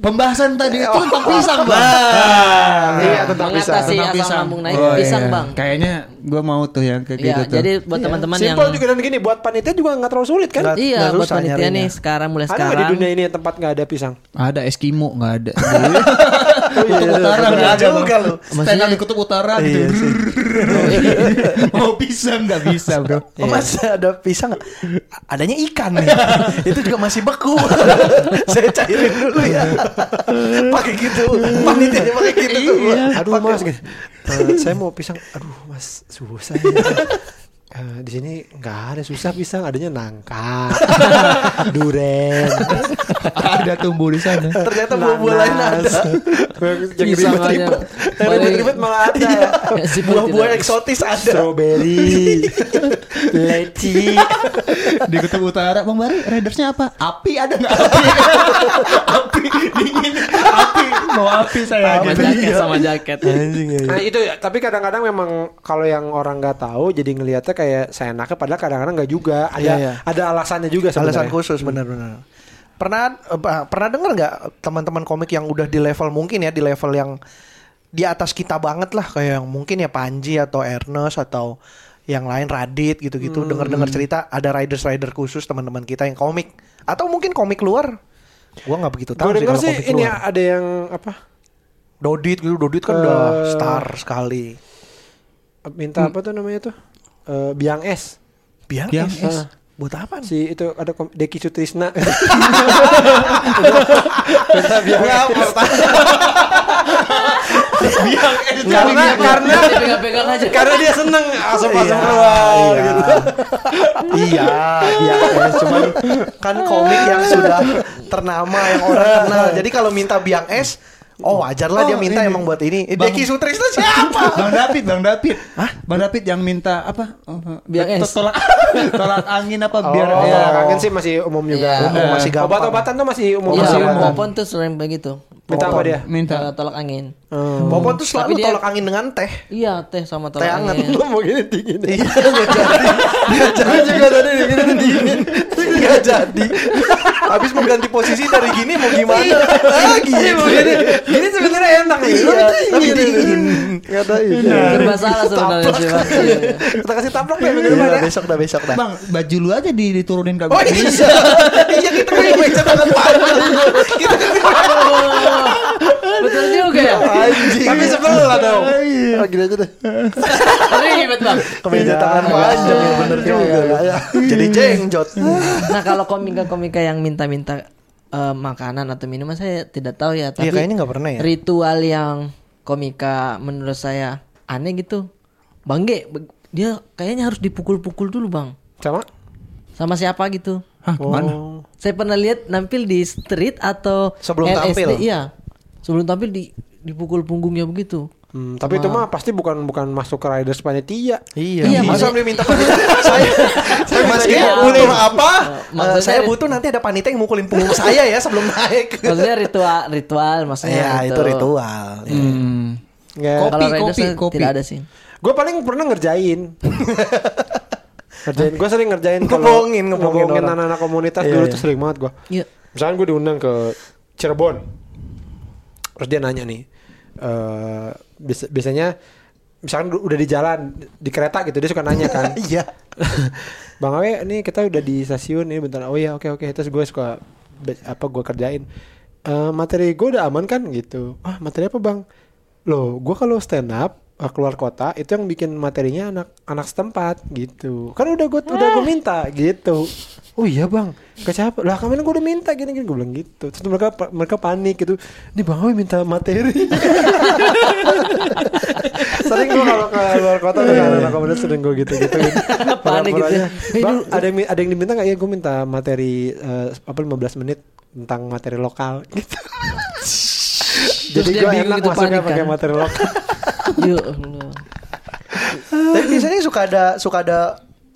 Speaker 4: Pembahasan tadi itu tentang pisang bang.
Speaker 3: iya, tentang pisang.
Speaker 2: mengatasi asam lambung naik pisang, Bang.
Speaker 4: Oh, iya. Kayaknya gue mau tuh yang kayak
Speaker 2: Iya,
Speaker 4: gitu tuh.
Speaker 2: jadi buat teman-teman yang
Speaker 3: Simple juga dan gini buat panitia juga nggak terlalu sulit kan?
Speaker 1: Nggak-
Speaker 2: Iya,
Speaker 1: Iya. nggak
Speaker 2: buat
Speaker 1: susah
Speaker 2: panitia
Speaker 1: nyarinya.
Speaker 2: nih sekarang mulai
Speaker 3: Ada nggak
Speaker 2: sekarang.
Speaker 3: di dunia ini tempat nggak ada pisang?
Speaker 4: Ada Eskimo nggak ada. Iya. Kutub utara
Speaker 1: Bener
Speaker 4: nggak ada.
Speaker 1: juga lu.
Speaker 4: Stand up di kutub utara gitu.
Speaker 1: Iya sih.
Speaker 4: Mau pisang nggak bisa bro.
Speaker 1: Oh, Mas ada pisang nggak? A- Adanya ikan nih. Itu juga masih beku. Saya cairin dulu ya. pakai gitu. Panitianya pakai gitu tuh.
Speaker 3: Aduh mas, gitu. Eh, saya mau pisang. Aduh mas, susah. Ya. Eh, di sini nggak ada susah pisang, adanya nangka, duren,
Speaker 4: ada tumbuh di sana.
Speaker 1: Ternyata buah-buah lain ada.
Speaker 3: Yang
Speaker 2: Pisang aja.
Speaker 3: ribet-ribet, Yang
Speaker 2: Paling-
Speaker 3: ribet-ribet malah ada. ya.
Speaker 2: Sibuk
Speaker 1: Buah-buah
Speaker 2: tidak.
Speaker 1: eksotis ada.
Speaker 3: Strawberry, leci.
Speaker 4: di kutub utara bang Bari ridersnya apa api ada nggak api api dingin api mau api saya
Speaker 2: sama
Speaker 4: gitu.
Speaker 2: jaket, sama jaket.
Speaker 3: Nah itu ya, tapi kadang-kadang memang kalau yang orang nggak tahu jadi ngelihatnya kayak seenaknya padahal kadang-kadang nggak juga. Ada
Speaker 1: Iya, iya.
Speaker 3: ada alasannya juga
Speaker 1: Alasan
Speaker 3: sebenarnya. Hmm.
Speaker 1: khusus benar-benar. Pernah eh, pernah dengar nggak teman-teman komik yang udah di level mungkin ya di level yang di atas kita banget lah kayak yang mungkin ya Panji atau Ernest atau yang lain Radit gitu-gitu
Speaker 3: Hmm.
Speaker 1: dengar-dengar cerita ada riders rider khusus teman-teman kita yang komik atau mungkin komik luar gua nggak begitu
Speaker 3: Gue
Speaker 1: tahu sih
Speaker 3: denger
Speaker 1: kalau
Speaker 3: sih
Speaker 1: komik
Speaker 3: ini ya.
Speaker 1: luar
Speaker 3: ada yang apa
Speaker 1: Dodit gitu Dodit kan udah
Speaker 3: Eh,
Speaker 1: star sekali
Speaker 3: minta apa tuh namanya tuh Eh, biang es.
Speaker 1: biang,
Speaker 4: Biang
Speaker 1: es,
Speaker 4: es.
Speaker 1: Ah. buat apa sih
Speaker 3: si itu ada kom- Deki Sutrisna karena karena
Speaker 2: pegang-pegang aja.
Speaker 3: karena dia seneng asap asap
Speaker 1: Iya,
Speaker 3: keluar
Speaker 1: iya.
Speaker 3: gitu
Speaker 1: iya, iya, iya. cuman kan komik yang sudah ternama yang orang kenal. Jadi kalau minta biang es, oh wajar lah dia
Speaker 4: Oh,
Speaker 1: minta
Speaker 4: ini.
Speaker 1: emang buat ini. Eh,
Speaker 4: Bang-
Speaker 1: Deki Sutrisna siapa?
Speaker 4: Bang David, Bang David, Hah? Bang David yang minta apa?
Speaker 2: Biang
Speaker 4: To-
Speaker 2: es.
Speaker 4: Tolak, tolak angin apa
Speaker 3: oh,
Speaker 4: biar ya.
Speaker 3: kangen sih masih umum juga
Speaker 2: Iya.
Speaker 1: Umum, masih gampang.
Speaker 3: obat-obatan tuh masih umum
Speaker 2: Iya,
Speaker 3: masih
Speaker 2: sama
Speaker 3: gampang.
Speaker 2: Popon tuh sering begitu.
Speaker 3: Minta apa dia?
Speaker 4: Minta.
Speaker 2: Eh, tolak angin.
Speaker 3: Hmm.
Speaker 1: Popon tuh selalu
Speaker 2: Tapi dia-
Speaker 1: tolak angin dengan teh.
Speaker 2: Iya teh sama
Speaker 1: Teh
Speaker 2: tolak
Speaker 1: hangat.
Speaker 3: Lu
Speaker 2: angin.
Speaker 3: mau gini dingin. ya?
Speaker 1: Iya, nggak jadi. Nggak jadi. juga tadi gini dingin. Nggak Iya, jadi. Habis mau ganti posisi dari gini mau gimana? Lagi.
Speaker 3: Iya. Gini, gini sebenarnya enak nih. Lu
Speaker 1: Iya, tapi dingin.
Speaker 3: Kata
Speaker 2: Serba salah sebenarnya sih Bang. Iya, iya.
Speaker 1: Kita kasih taplok deh minggu
Speaker 3: Iya,
Speaker 1: depan ya. Besok dah, besok dah.
Speaker 4: Bang, baju lu aja di- diturunin kagak.
Speaker 1: Oh iya, iya kita punya meja tangan panjang. Kita
Speaker 2: iya. Betul juga ya.
Speaker 1: anjing. Tapi sebelah dong.
Speaker 4: iya.
Speaker 3: Oh, gini aja
Speaker 1: Iya.
Speaker 3: deh.
Speaker 2: Ribet bang.
Speaker 1: Kemeja tangan panjang ya bener juga. Jadi jengjot.
Speaker 2: Nah kalau komika-komika yang minta-minta eh, makanan atau minuman saya tidak tahu ya. Tapi
Speaker 1: Iya kayaknya nggak pernah ya.
Speaker 2: ritual yang komika menurut saya aneh gitu. Bang Ge, be- dia kayaknya harus dipukul-pukul dulu bang.
Speaker 3: Sama?
Speaker 2: Sama siapa gitu.
Speaker 4: Hah,
Speaker 3: Oh.
Speaker 4: gimana?
Speaker 2: Saya pernah lihat nampil di street atau
Speaker 1: Sebelum tampil?
Speaker 2: Iya. Sebelum tampil di dipukul punggungnya begitu.
Speaker 3: Hmm, tapi itu mah pasti bukan bukan masuk ke Riders panitia.
Speaker 1: Iya,
Speaker 2: Iya,
Speaker 1: masa
Speaker 2: maksudnya-
Speaker 1: dia minta panitia? saya saya Mas Ge,
Speaker 2: Iya.
Speaker 1: butuh apa?
Speaker 2: Eh, maksudnya-
Speaker 1: Eh, saya butuh nanti ada panitia yang mukulin punggung saya ya sebelum naik.
Speaker 2: Maksudnya ritual, ritual maksudnya.
Speaker 1: Iya,
Speaker 2: gitu.
Speaker 1: itu ritual.
Speaker 4: Hmm.
Speaker 3: Nggak.
Speaker 2: Kalau
Speaker 4: Kopi,
Speaker 2: Raiders
Speaker 4: kopi, kopi.
Speaker 2: tidak ada sih.
Speaker 3: Gue paling pernah ngerjain. ngerjain. Gue sering ngerjain kalau-
Speaker 1: Ngebohongin, ngebohongin
Speaker 3: ngebohongin
Speaker 1: orang.
Speaker 3: anak-anak komunitas
Speaker 1: Iya,
Speaker 3: dulu
Speaker 1: iya.
Speaker 3: tuh sering banget gue.
Speaker 2: Iya.
Speaker 3: Misalkan gue diundang ke Cirebon. Terus dia nanya nih. eh bias- biasanya misalkan udah di jalan di kereta gitu dia suka nanya kan.
Speaker 1: Iya.
Speaker 3: Bang Awe, ini kita udah di stasiun ini bentar. Oh iya, oke oke. Terus gue suka be- apa gue kerjain. Eh, materi gue udah aman kan gitu. Ah, materi apa bang? Loh, gue kalau stand up eh, keluar kota itu yang bikin materinya anak anak setempat gitu. Kan udah gue udah
Speaker 2: Ah.
Speaker 3: gue minta gitu. Oh iya bang, ke siapa? Lah kemarin gue udah minta gini gini gue bilang gitu. Terus mereka pa- mereka panik gitu. Ini bang Awe minta materi. sering gue kalau ke luar kota ke anak-anak komunitas sering gue gitu gitu
Speaker 2: Panik gitu ya.
Speaker 3: bang ada yang mi- ada yang diminta nggak ya gue minta materi eh, apa 15 menit tentang materi lokal gitu jadi
Speaker 2: dia
Speaker 3: gue
Speaker 2: bingung
Speaker 3: enak
Speaker 2: gitu,
Speaker 3: masuknya
Speaker 2: panik kan?
Speaker 3: pakai materi lokal
Speaker 2: Yuk. Allah.
Speaker 1: Tapi biasanya suka ada suka ada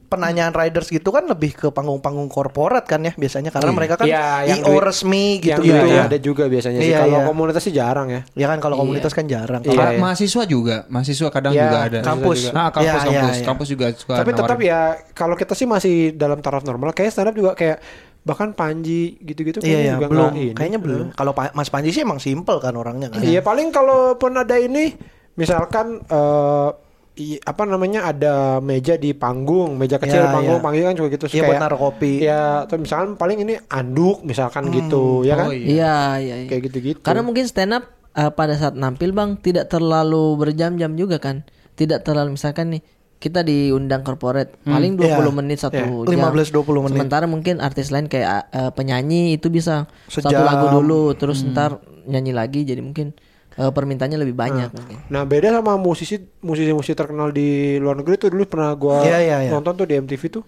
Speaker 1: penanyaan riders gitu kan lebih ke panggung-panggung korporat kan ya biasanya karena mereka kan
Speaker 3: Iya, yang
Speaker 1: IO
Speaker 3: duit-
Speaker 1: resmi
Speaker 3: yang
Speaker 1: gitu-gitu.
Speaker 3: gitu
Speaker 1: ya.
Speaker 3: ada juga biasanya sih
Speaker 1: Iya,
Speaker 3: kalau
Speaker 1: iya.
Speaker 3: komunitas sih jarang ya
Speaker 1: Ya kan kalau komunitas kan jarang. Kalau
Speaker 3: Iya,
Speaker 4: Ah,
Speaker 3: iya.
Speaker 4: mahasiswa juga, mahasiswa kadang
Speaker 3: Iya,
Speaker 4: juga ada.
Speaker 1: kampus.
Speaker 4: Nah, kampus,
Speaker 1: Iya, iya,
Speaker 4: kampus,
Speaker 1: iya.
Speaker 4: kampus juga suka.
Speaker 3: tapi tetap
Speaker 4: nawarin.
Speaker 3: ya kalau kita sih masih dalam taraf normal kayak stand up juga kayak bahkan Panji gitu-gitu
Speaker 1: Iya,
Speaker 3: kayaknya
Speaker 1: iya,
Speaker 3: juga
Speaker 1: belum.
Speaker 3: nggak ini. gitu.
Speaker 1: Kayaknya belum. Kalau Pa- Mas Panji sih emang simple kan orangnya kan.
Speaker 3: Iya paling kalaupun ada ini misalkan eh, i- apa namanya ada meja di panggung, meja kecil
Speaker 1: Ya,
Speaker 3: panggung,
Speaker 1: ya.
Speaker 3: panggung kan juga gitu terus
Speaker 1: Iya, buat
Speaker 3: kayak-
Speaker 1: naruh kopi. Hmm.
Speaker 3: Ya, atau misalkan paling ini anduk misalkan gitu ya kan.
Speaker 4: Oh, iya.
Speaker 2: Iya, iya, iya.
Speaker 3: Kayak gitu-gitu.
Speaker 2: Karena mungkin stand up eh, pada saat nampil Bang tidak terlalu berjam-jam juga kan. Tidak terlalu misalkan nih kita diundang korporat paling 20
Speaker 1: Iya.
Speaker 2: menit satu
Speaker 1: Iya.
Speaker 2: jam.
Speaker 1: 15-20 menit.
Speaker 2: Sementara mungkin artis lain kayak eh, penyanyi itu bisa satu
Speaker 1: Sejam. Hmm.
Speaker 2: lagu dulu terus ntar nyanyi lagi jadi mungkin eh, permintaannya lebih banyak
Speaker 1: Hmm.
Speaker 2: mungkin.
Speaker 3: Nah, beda sama musisi musisi-musisi terkenal di luar negeri tuh dulu pernah gua
Speaker 1: Iya, iya, iya.
Speaker 3: nonton tuh di MTV tuh.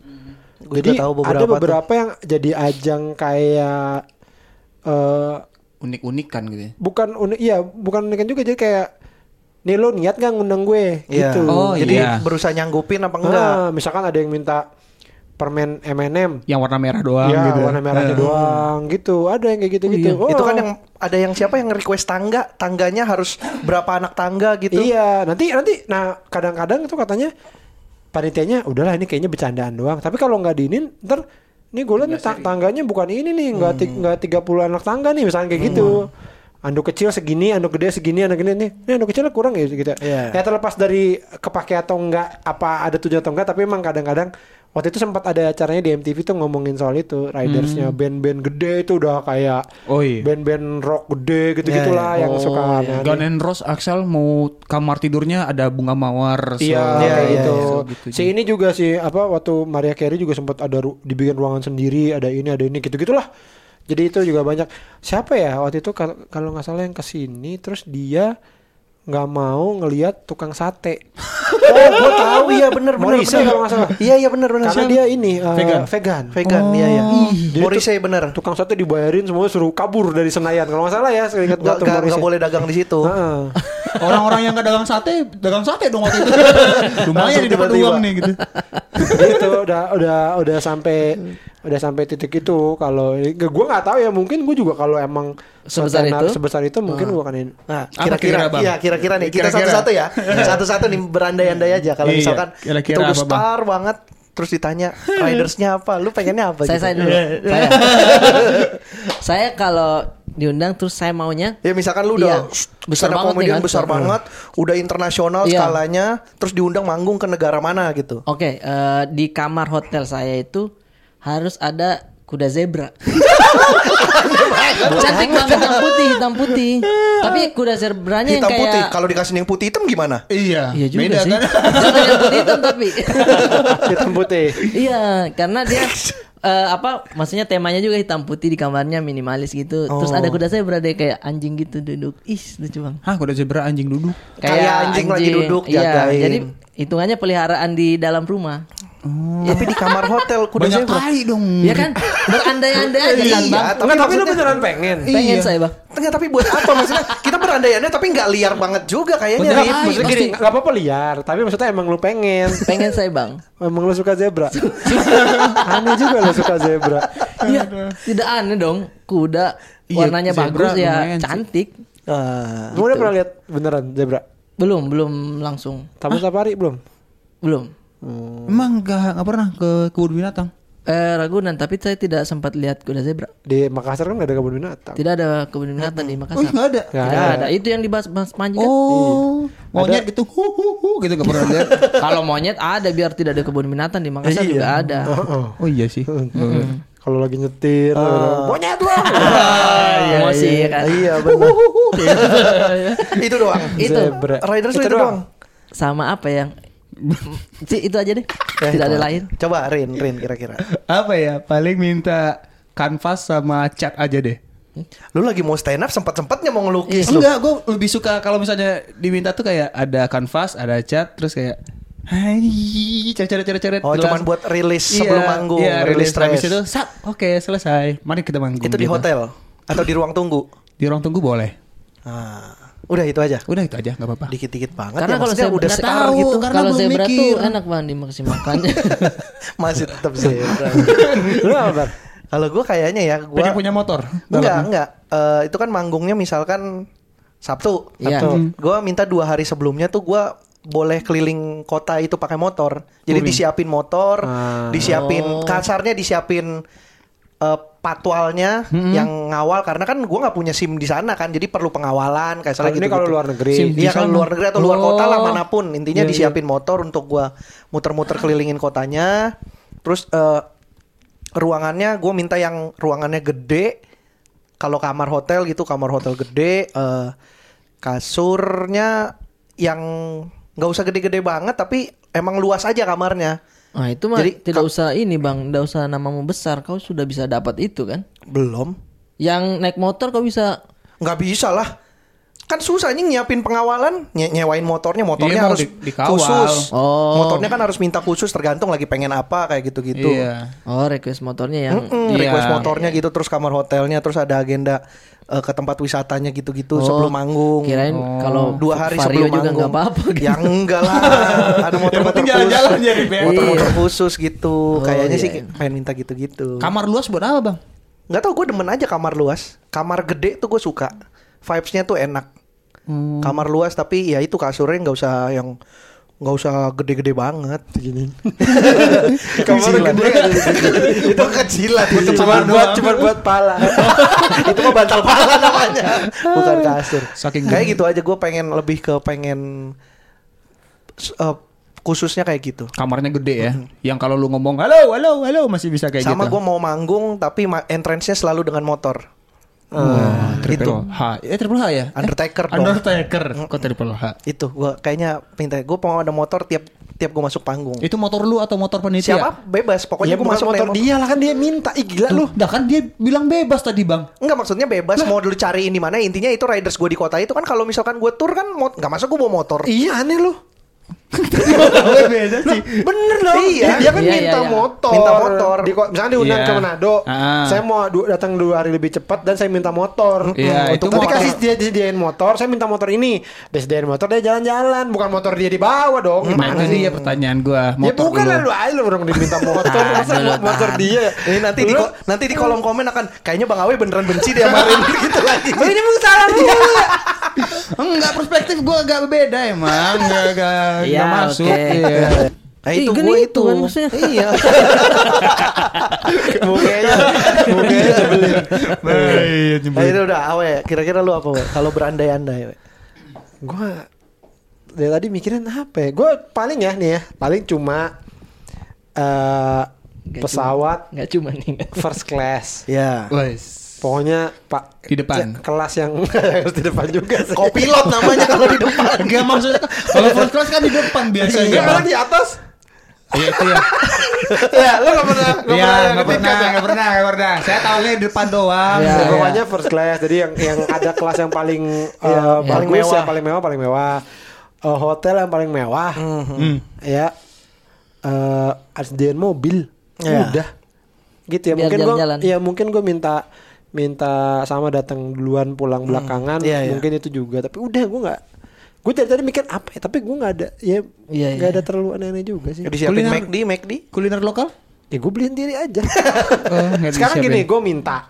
Speaker 1: Gua
Speaker 3: jadi
Speaker 1: juga tahu beberapa
Speaker 3: ada beberapa yang jadi ajang kayak eh
Speaker 4: unik-unikan gitu ya.
Speaker 3: bukan unik iya bukan unikan juga jadi kayak nih lo niat gak ngundang gue
Speaker 1: Iya.
Speaker 3: gitu
Speaker 4: Oh,
Speaker 1: Jadi
Speaker 4: iya.
Speaker 1: berusaha nyanggupin apa enggak?
Speaker 3: Ah, misalkan ada yang minta permen M&M
Speaker 4: Yang warna merah doang
Speaker 3: ya
Speaker 4: gitu.
Speaker 3: warna merahnya
Speaker 4: Eh,
Speaker 3: doang gitu ada yang kayak gitu gitu
Speaker 1: Iya. Itu kan yang ada yang siapa yang request tangga, tangganya harus berapa anak tangga gitu.
Speaker 3: iya nanti nanti nah kadang-kadang itu katanya panitianya udahlah ini kayaknya bercandaan doang tapi kalau nggak diinin ntar ini gue liat nih ta- tangganya bukan ini nih nggak ti-
Speaker 1: Hmm.
Speaker 3: nggak 30 anak tangga nih misalkan kayak gitu Anduk kecil segini, anduk gede segini, anduk gede nih. Ini anduk kecilnya kurang ya gitu.
Speaker 1: Iya.
Speaker 3: Ya terlepas dari kepake atau enggak, apa ada tujuan atau enggak, tapi emang kadang-kadang waktu itu sempat ada acaranya di MTV tuh ngomongin soal itu, ridersnya
Speaker 1: Hmm.
Speaker 3: band-band gede itu udah kayak
Speaker 4: Oh iya.
Speaker 3: band-band rock gede gitu-gitulah
Speaker 1: Iya, iya.
Speaker 3: yang suka
Speaker 2: Oh,
Speaker 3: aneh-aneh.
Speaker 4: Gun and Rose Axel mau kamar tidurnya ada bunga mawar.
Speaker 3: Iya,
Speaker 4: so-
Speaker 1: Iya,
Speaker 3: kayak
Speaker 1: iya,
Speaker 3: gitu.
Speaker 4: so
Speaker 3: Si ini juga sih apa waktu Maria Carey juga sempat ada ru- dibikin ruangan sendiri, ada ini, ada ini gitu-gitulah. Jadi itu juga banyak. Siapa ya waktu itu kal- kalau nggak salah yang kesini terus dia nggak mau ngelihat tukang sate. oh, gua tahu iya bener bener.
Speaker 1: Morrissey
Speaker 3: kalau nggak salah.
Speaker 1: Iya iya bener bener.
Speaker 3: Karena
Speaker 1: Siapa?
Speaker 3: dia ini eh,
Speaker 4: Vegan.
Speaker 3: vegan. Oh.
Speaker 1: vegan iya iya.
Speaker 3: Jadi
Speaker 1: Morrissey bener.
Speaker 3: Tukang sate dibayarin semua suruh kabur dari Senayan. Kalau nggak salah ya, seingat
Speaker 1: Nggak
Speaker 3: gua tuh
Speaker 1: nggak-
Speaker 3: Morrissey.
Speaker 1: nggak boleh dagang di situ.
Speaker 3: Heeh.
Speaker 4: Orang-orang yang gak dagang sate, dagang sate dong waktu itu. Lumayan
Speaker 1: Langsung
Speaker 4: di dapat
Speaker 1: tiba-tiba.
Speaker 4: uang nih gitu.
Speaker 3: gitu udah udah udah sampai udah sampai titik itu kalau gue nggak tahu ya mungkin gue juga kalau emang suatu
Speaker 2: Sebesar itu? Ah.
Speaker 3: ana- sebesar itu mungkin gue akan ini.
Speaker 1: Nah,
Speaker 4: Apa kira-kira,
Speaker 1: kira-kira,
Speaker 4: Bang?
Speaker 1: iya kira-kira nih kita
Speaker 4: Kira-kira.
Speaker 1: satu-satu ya, satu-satu nih berandai-andai aja. Kalau
Speaker 4: Iya,
Speaker 1: misalkan
Speaker 4: kira-kira
Speaker 1: kita udah
Speaker 4: apa, Bang?
Speaker 1: star banget, terus ditanya ridersnya apa, lu pengennya apa?
Speaker 2: Saya
Speaker 1: gitu?
Speaker 2: saya dulu. saya. saya kalau diundang terus saya maunya
Speaker 1: Ya misalkan lu udah
Speaker 2: Iya, besar
Speaker 1: stand up
Speaker 2: banget nih
Speaker 1: comedian
Speaker 2: kan.
Speaker 1: besar
Speaker 2: Hmm.
Speaker 1: banget, udah internasional
Speaker 2: Iya.
Speaker 1: skalanya, terus diundang manggung ke negara mana gitu.
Speaker 2: Oke, eh, di kamar hotel saya itu harus ada kuda zebra. Cantik banget hitam putih, hitam putih. Tapi kuda zebranya yang
Speaker 1: Hitam
Speaker 2: kayak
Speaker 1: putih, kalau dikasih yang putih hitam gimana?
Speaker 4: Iya.
Speaker 2: Iya juga
Speaker 4: beda
Speaker 2: sih.
Speaker 4: kan?
Speaker 2: Jangan yang putih hitam tapi.
Speaker 3: hitam putih
Speaker 2: iya, karena dia eh, apa maksudnya temanya juga hitam putih di kamarnya minimalis gitu.
Speaker 1: Oh.
Speaker 2: Terus ada kuda zebra deh kayak anjing gitu duduk. Ih, lucu banget.
Speaker 4: Hah, kuda zebra anjing duduk.
Speaker 1: Kayak anjing lagi duduk,
Speaker 2: Iya,
Speaker 1: jagain.
Speaker 2: jadi hitungannya peliharaan di dalam rumah.
Speaker 1: Tapi di kamar hotel kuda
Speaker 4: Banyak
Speaker 1: zebra.
Speaker 4: kali dong.
Speaker 2: Iya kan? Berandai-andai aja kan,
Speaker 1: Hmm. Iya,
Speaker 2: Bang.
Speaker 1: tapi
Speaker 3: Nggak, tapi lu
Speaker 1: maksudnya-
Speaker 3: beneran pengen
Speaker 2: Pengen
Speaker 4: Iya.
Speaker 2: saya, Bang.
Speaker 1: Enggak, tapi buat apa maksudnya? Kita berandai-andai tapi nggak liar banget juga kayaknya.
Speaker 3: Nggak,
Speaker 1: Rip.
Speaker 2: Ay,
Speaker 3: maksudnya gini, nggak apa-apa liar tapi maksudnya emang lu pengen
Speaker 2: Pengen saya, Bang.
Speaker 3: emang lu suka zebra aneh juga lu suka zebra
Speaker 2: Iya, tidak aneh dong. Kuda
Speaker 4: Iya,
Speaker 2: warnanya
Speaker 4: zebra
Speaker 2: bagus ya,
Speaker 4: lumayan sih.
Speaker 2: cantik.
Speaker 1: Ah.
Speaker 3: lu
Speaker 2: gitu.
Speaker 3: udah pernah lihat beneran zebra
Speaker 2: Belum, belum langsung.
Speaker 3: tamu safari belum
Speaker 2: Belum.
Speaker 4: Emang gak, nggak pernah ke kebun binatang?
Speaker 2: Eh, Ragunan, tapi saya tidak sempat lihat kuda zebra.
Speaker 3: di Makassar kan gak ada kebun binatang
Speaker 2: Tidak ada kebun binatang di
Speaker 4: Oh,
Speaker 2: Makassar.
Speaker 4: nggak ada.
Speaker 3: Nggak
Speaker 2: tidak ada. Itu yang dibahas Mas Panji kan?
Speaker 4: Oh, monyet gitu, hu hu hu gitu nggak pernah lihat.
Speaker 2: Kalau monyet ada biar tidak ada kebun binatang di Makassar juga ada.
Speaker 3: Heeh.
Speaker 4: Oh iya sih.
Speaker 3: Hmm. kalau lagi nyetir
Speaker 2: Ah.
Speaker 1: Eh,
Speaker 3: monyet lu
Speaker 2: Emosi ya kan.
Speaker 1: Iya benar. itu doang.
Speaker 2: Itu
Speaker 3: Zebra.
Speaker 1: Riders itu,
Speaker 3: Itu
Speaker 1: doang.
Speaker 3: doang.
Speaker 2: sama apa yang Si, itu aja deh.
Speaker 1: Ya,
Speaker 2: tidak
Speaker 1: itu.
Speaker 2: ada lain.
Speaker 1: Coba Rin, Rin kira-kira.
Speaker 4: Apa ya? Paling minta kanvas sama cat aja deh.
Speaker 1: Lu lagi mau stand up sempat-sempatnya mau
Speaker 2: Iya.
Speaker 1: ngelukis lu.
Speaker 4: Enggak, gue lebih suka kalau misalnya diminta tuh kayak ada kanvas, ada cat, terus kayak Hai, ceret ceret ceret.
Speaker 1: Oh, cuman buat rilis sebelum manggung,
Speaker 4: Iya,
Speaker 1: rilis
Speaker 4: rilis habis
Speaker 1: stress.
Speaker 4: itu. Sat, oke, selesai. Mari kita manggung.
Speaker 1: Itu di
Speaker 4: gitu.
Speaker 1: hotel atau di ruang tunggu.
Speaker 4: Di ruang tunggu boleh.
Speaker 1: Ah, udah itu aja.
Speaker 4: Udah itu aja, nggak apa-apa.
Speaker 1: Dikit-dikit banget.
Speaker 2: Karena
Speaker 1: ya,
Speaker 2: kalau
Speaker 1: maksudnya
Speaker 2: saya
Speaker 1: udah
Speaker 2: udah
Speaker 1: star
Speaker 2: tahu,
Speaker 1: gitu.
Speaker 4: karena
Speaker 2: kalau
Speaker 4: belum
Speaker 2: zebra
Speaker 4: mikir.
Speaker 2: tuh enak banget dimaksimalkannya.
Speaker 1: Masih tetap zebra.
Speaker 3: lu apa Bar?
Speaker 1: kalau gue kayaknya ya gue
Speaker 4: Punya punya motor.
Speaker 1: enggak enggak. Eh, itu kan manggungnya misalkan Sabtu.
Speaker 2: Iya.
Speaker 1: Sabtu. Gue minta dua hari sebelumnya tuh gue boleh keliling kota itu pakai motor. Jadi disiapin motor,
Speaker 3: Ah.
Speaker 1: disiapin
Speaker 2: Oh.
Speaker 1: kasarnya disiapin eh, patwalnya
Speaker 2: Hmm.
Speaker 1: yang ngawal karena kan gue nggak punya sim di sana kan. Jadi perlu pengawalan kayak
Speaker 3: Kalau
Speaker 1: salah gitu.
Speaker 3: ini kalau luar
Speaker 4: Sim.
Speaker 3: negeri
Speaker 1: Iya
Speaker 4: Di
Speaker 1: kalau
Speaker 4: sana.
Speaker 1: luar negeri atau luar kota lah
Speaker 4: Oh.
Speaker 1: manapun intinya
Speaker 4: Iya,
Speaker 1: disiapin motor untuk gua muter-muter kelilingin kotanya. Terus eh, ruangannya gua minta yang ruangannya gede. Kalau kamar hotel gitu kamar hotel gede eh, kasurnya yang nggak usah gede-gede banget tapi emang luas aja kamarnya.
Speaker 2: Nah, itu mah
Speaker 1: Jadi,
Speaker 2: tidak
Speaker 1: ka-
Speaker 2: usah ini, Bang. Tidak usah namamu besar, kau sudah bisa dapat itu kan?
Speaker 1: Belum.
Speaker 2: Yang naik motor kau bisa
Speaker 1: nggak bisa lah. Kan susah anjing nyiapin pengawalan, nye- nyewain motornya, motornya
Speaker 4: Iya, mau
Speaker 1: harus
Speaker 4: di- dikawal.
Speaker 1: khusus.
Speaker 2: Oh.
Speaker 1: Motornya kan harus minta khusus tergantung lagi pengen apa kayak gitu-gitu.
Speaker 4: Iya.
Speaker 2: oh request motornya yang
Speaker 1: Mm,
Speaker 4: Iya.
Speaker 1: request motornya gitu terus kamar hotelnya terus ada agenda eh, ke tempat wisatanya gitu-gitu
Speaker 2: Oh,
Speaker 1: sebelum manggung.
Speaker 2: Kirain
Speaker 4: Oh.
Speaker 2: kalau
Speaker 1: dua hari sebelum
Speaker 2: Vario juga
Speaker 1: manggung.
Speaker 2: nggak apa-apa gitu.
Speaker 1: Ya enggak lah. ada motor-motor
Speaker 4: penting
Speaker 1: khusus.
Speaker 4: jalan-jalan ya, Rip, ya.
Speaker 1: Motor-motor khusus gitu.
Speaker 2: Iya. Oh,
Speaker 1: Kayaknya
Speaker 2: iya,
Speaker 1: sih
Speaker 2: iya.
Speaker 1: pengen minta gitu-gitu.
Speaker 4: Kamar luas buat apa, Bang?
Speaker 1: Nggak tau gue demen aja kamar luas Kamar gede tuh gue suka Vibesnya tuh enak
Speaker 4: Hmm.
Speaker 1: Kamar luas tapi ya itu kasurnya nggak usah yang nggak usah gede-gede banget gini. kamar gede itu kecilan itu
Speaker 3: cuma buat cuma buat pala
Speaker 1: itu mah bantal pala namanya bukan kasur
Speaker 4: Saking
Speaker 1: kayak gitu aja gue pengen lebih ke pengen s- eh, khususnya kayak gitu
Speaker 4: Kamarnya gede ya. Yang kalau lu ngomong halo, halo, halo masih bisa kayak
Speaker 1: sama gue
Speaker 4: gitu.
Speaker 1: mau manggung tapi ma- entrance-nya selalu dengan motor
Speaker 4: Wah,
Speaker 1: Itu.
Speaker 4: triple H. Eh triple H ya?
Speaker 1: Undertaker dong.
Speaker 4: Undertaker. Mm. Kok triple H?
Speaker 1: itu gua kayaknya pinta gue mau ada motor tiap tiap gue masuk panggung
Speaker 4: Itu motor lu atau motor penitia?
Speaker 1: siapa bebas pokoknya
Speaker 3: ya
Speaker 1: gue
Speaker 3: bukan
Speaker 1: masuk
Speaker 3: motor
Speaker 1: demo.
Speaker 3: dia lah kan dia minta ih gila lu
Speaker 4: Lu, dah kan dia bilang bebas tadi, Bang.
Speaker 1: Enggak maksudnya bebas mau dulu cariin di mana intinya itu riders gue di kota itu kan kalau misalkan gue tour kan mot nggak masuk gue bawa motor
Speaker 3: iya aneh lu
Speaker 4: beda sih.
Speaker 3: Bener dong.
Speaker 1: Iya.
Speaker 3: Dia, dia kan
Speaker 2: Iya, iya,
Speaker 3: minta
Speaker 2: iya.
Speaker 3: motor.
Speaker 1: Minta motor.
Speaker 3: Di, ko- misalnya diundang
Speaker 4: Iya.
Speaker 3: ke Manado.
Speaker 4: Ah.
Speaker 3: Saya mau du- datang dua hari lebih cepat dan saya minta motor.
Speaker 4: Iya,
Speaker 3: Untuk
Speaker 4: itu
Speaker 3: tapi
Speaker 4: motor.
Speaker 3: kasih dia disediain motor, saya minta motor ini. Dia sediain motor dia jalan-jalan, bukan motor dia dibawa dong.
Speaker 4: Nah itu dia pertanyaan gua.
Speaker 3: Ya
Speaker 4: Motor
Speaker 3: bukan lah
Speaker 4: dulu.
Speaker 3: lu aja lu orang diminta motor, masa
Speaker 2: dulu,
Speaker 3: mau motor
Speaker 2: tahan.
Speaker 3: dia.
Speaker 1: Kan. Ini nanti di
Speaker 3: Lu-
Speaker 1: ko- nanti di kolom komen akan kayaknya Bang Awe beneran benci dia sama Rin gitu lagi.
Speaker 3: Lu ini emang salah lu.
Speaker 1: Iya.
Speaker 4: Enggak perspektif gua agak beda ya, emang. Enggak enggak
Speaker 2: Iya,
Speaker 4: enggak masuk.
Speaker 2: oke.
Speaker 4: Iya.
Speaker 1: Nah,
Speaker 2: Ih,
Speaker 1: itu
Speaker 2: kan
Speaker 1: gue
Speaker 2: itu
Speaker 1: itu.
Speaker 2: kan maksudnya.
Speaker 1: Iya.
Speaker 3: Mukanya, mukanya sebelin.
Speaker 4: Iya, Baik,
Speaker 1: Nah,
Speaker 4: nyebelin.
Speaker 1: itu udah Awe, kira-kira lu apa, We? Kalau berandai-andai, We.
Speaker 3: Gue dari tadi mikirin apa ya? Gue paling ya nih ya, paling cuma eh
Speaker 2: Nggak
Speaker 3: pesawat
Speaker 2: nggak cuma nih nggak cuma.
Speaker 3: first class.
Speaker 1: Iya.
Speaker 4: Wes.
Speaker 3: Pokoknya Pak
Speaker 4: Di depan.
Speaker 3: ya, kelas yang harus di depan juga sih.
Speaker 4: Oh,
Speaker 1: Kopilot namanya kalau di depan.
Speaker 4: Enggak maksudnya kalau first class kan di depan
Speaker 3: Enggak
Speaker 4: biasanya.
Speaker 3: kan di atas.
Speaker 4: Iya itu ya.
Speaker 3: ya, lu gak pernah nggak
Speaker 4: Iya,
Speaker 3: pernah
Speaker 4: enggak
Speaker 3: ketika
Speaker 4: pernah,
Speaker 3: kan?
Speaker 4: enggak pernah, enggak pernah. Saya tahunya di depan doang.
Speaker 3: Ya,
Speaker 4: Iya.
Speaker 3: pokoknya first class. Jadi yang yang ada kelas yang paling eh,
Speaker 4: iya.
Speaker 1: paling
Speaker 3: paling mewah,
Speaker 1: mewah.
Speaker 3: paling mewah, paling mewah. Eh, hotel yang paling mewah.
Speaker 1: Mhm.
Speaker 4: Hmm.
Speaker 3: Ya. Eh, SDN mobil.
Speaker 1: Ya.
Speaker 3: Udah. Gitu ya.
Speaker 2: Biar
Speaker 3: mungkin gua
Speaker 2: jalan-jalan.
Speaker 3: ya mungkin gue minta minta sama datang duluan pulang belakangan
Speaker 1: Iya, iya.
Speaker 3: mungkin itu juga tapi udah gue nggak gue dari tadi mikir apa ya tapi gue nggak ada ya
Speaker 2: Iya,
Speaker 3: nggak
Speaker 2: iya.
Speaker 3: ada terlalu aneh-aneh juga sih
Speaker 1: Disiapin
Speaker 4: Kuliner.
Speaker 1: McD, McD.
Speaker 4: Kuliner lokal?
Speaker 3: Ya gue beliin diri aja.
Speaker 4: Eh, nggak
Speaker 3: Sekarang
Speaker 4: disiapin.
Speaker 3: gini, gue minta.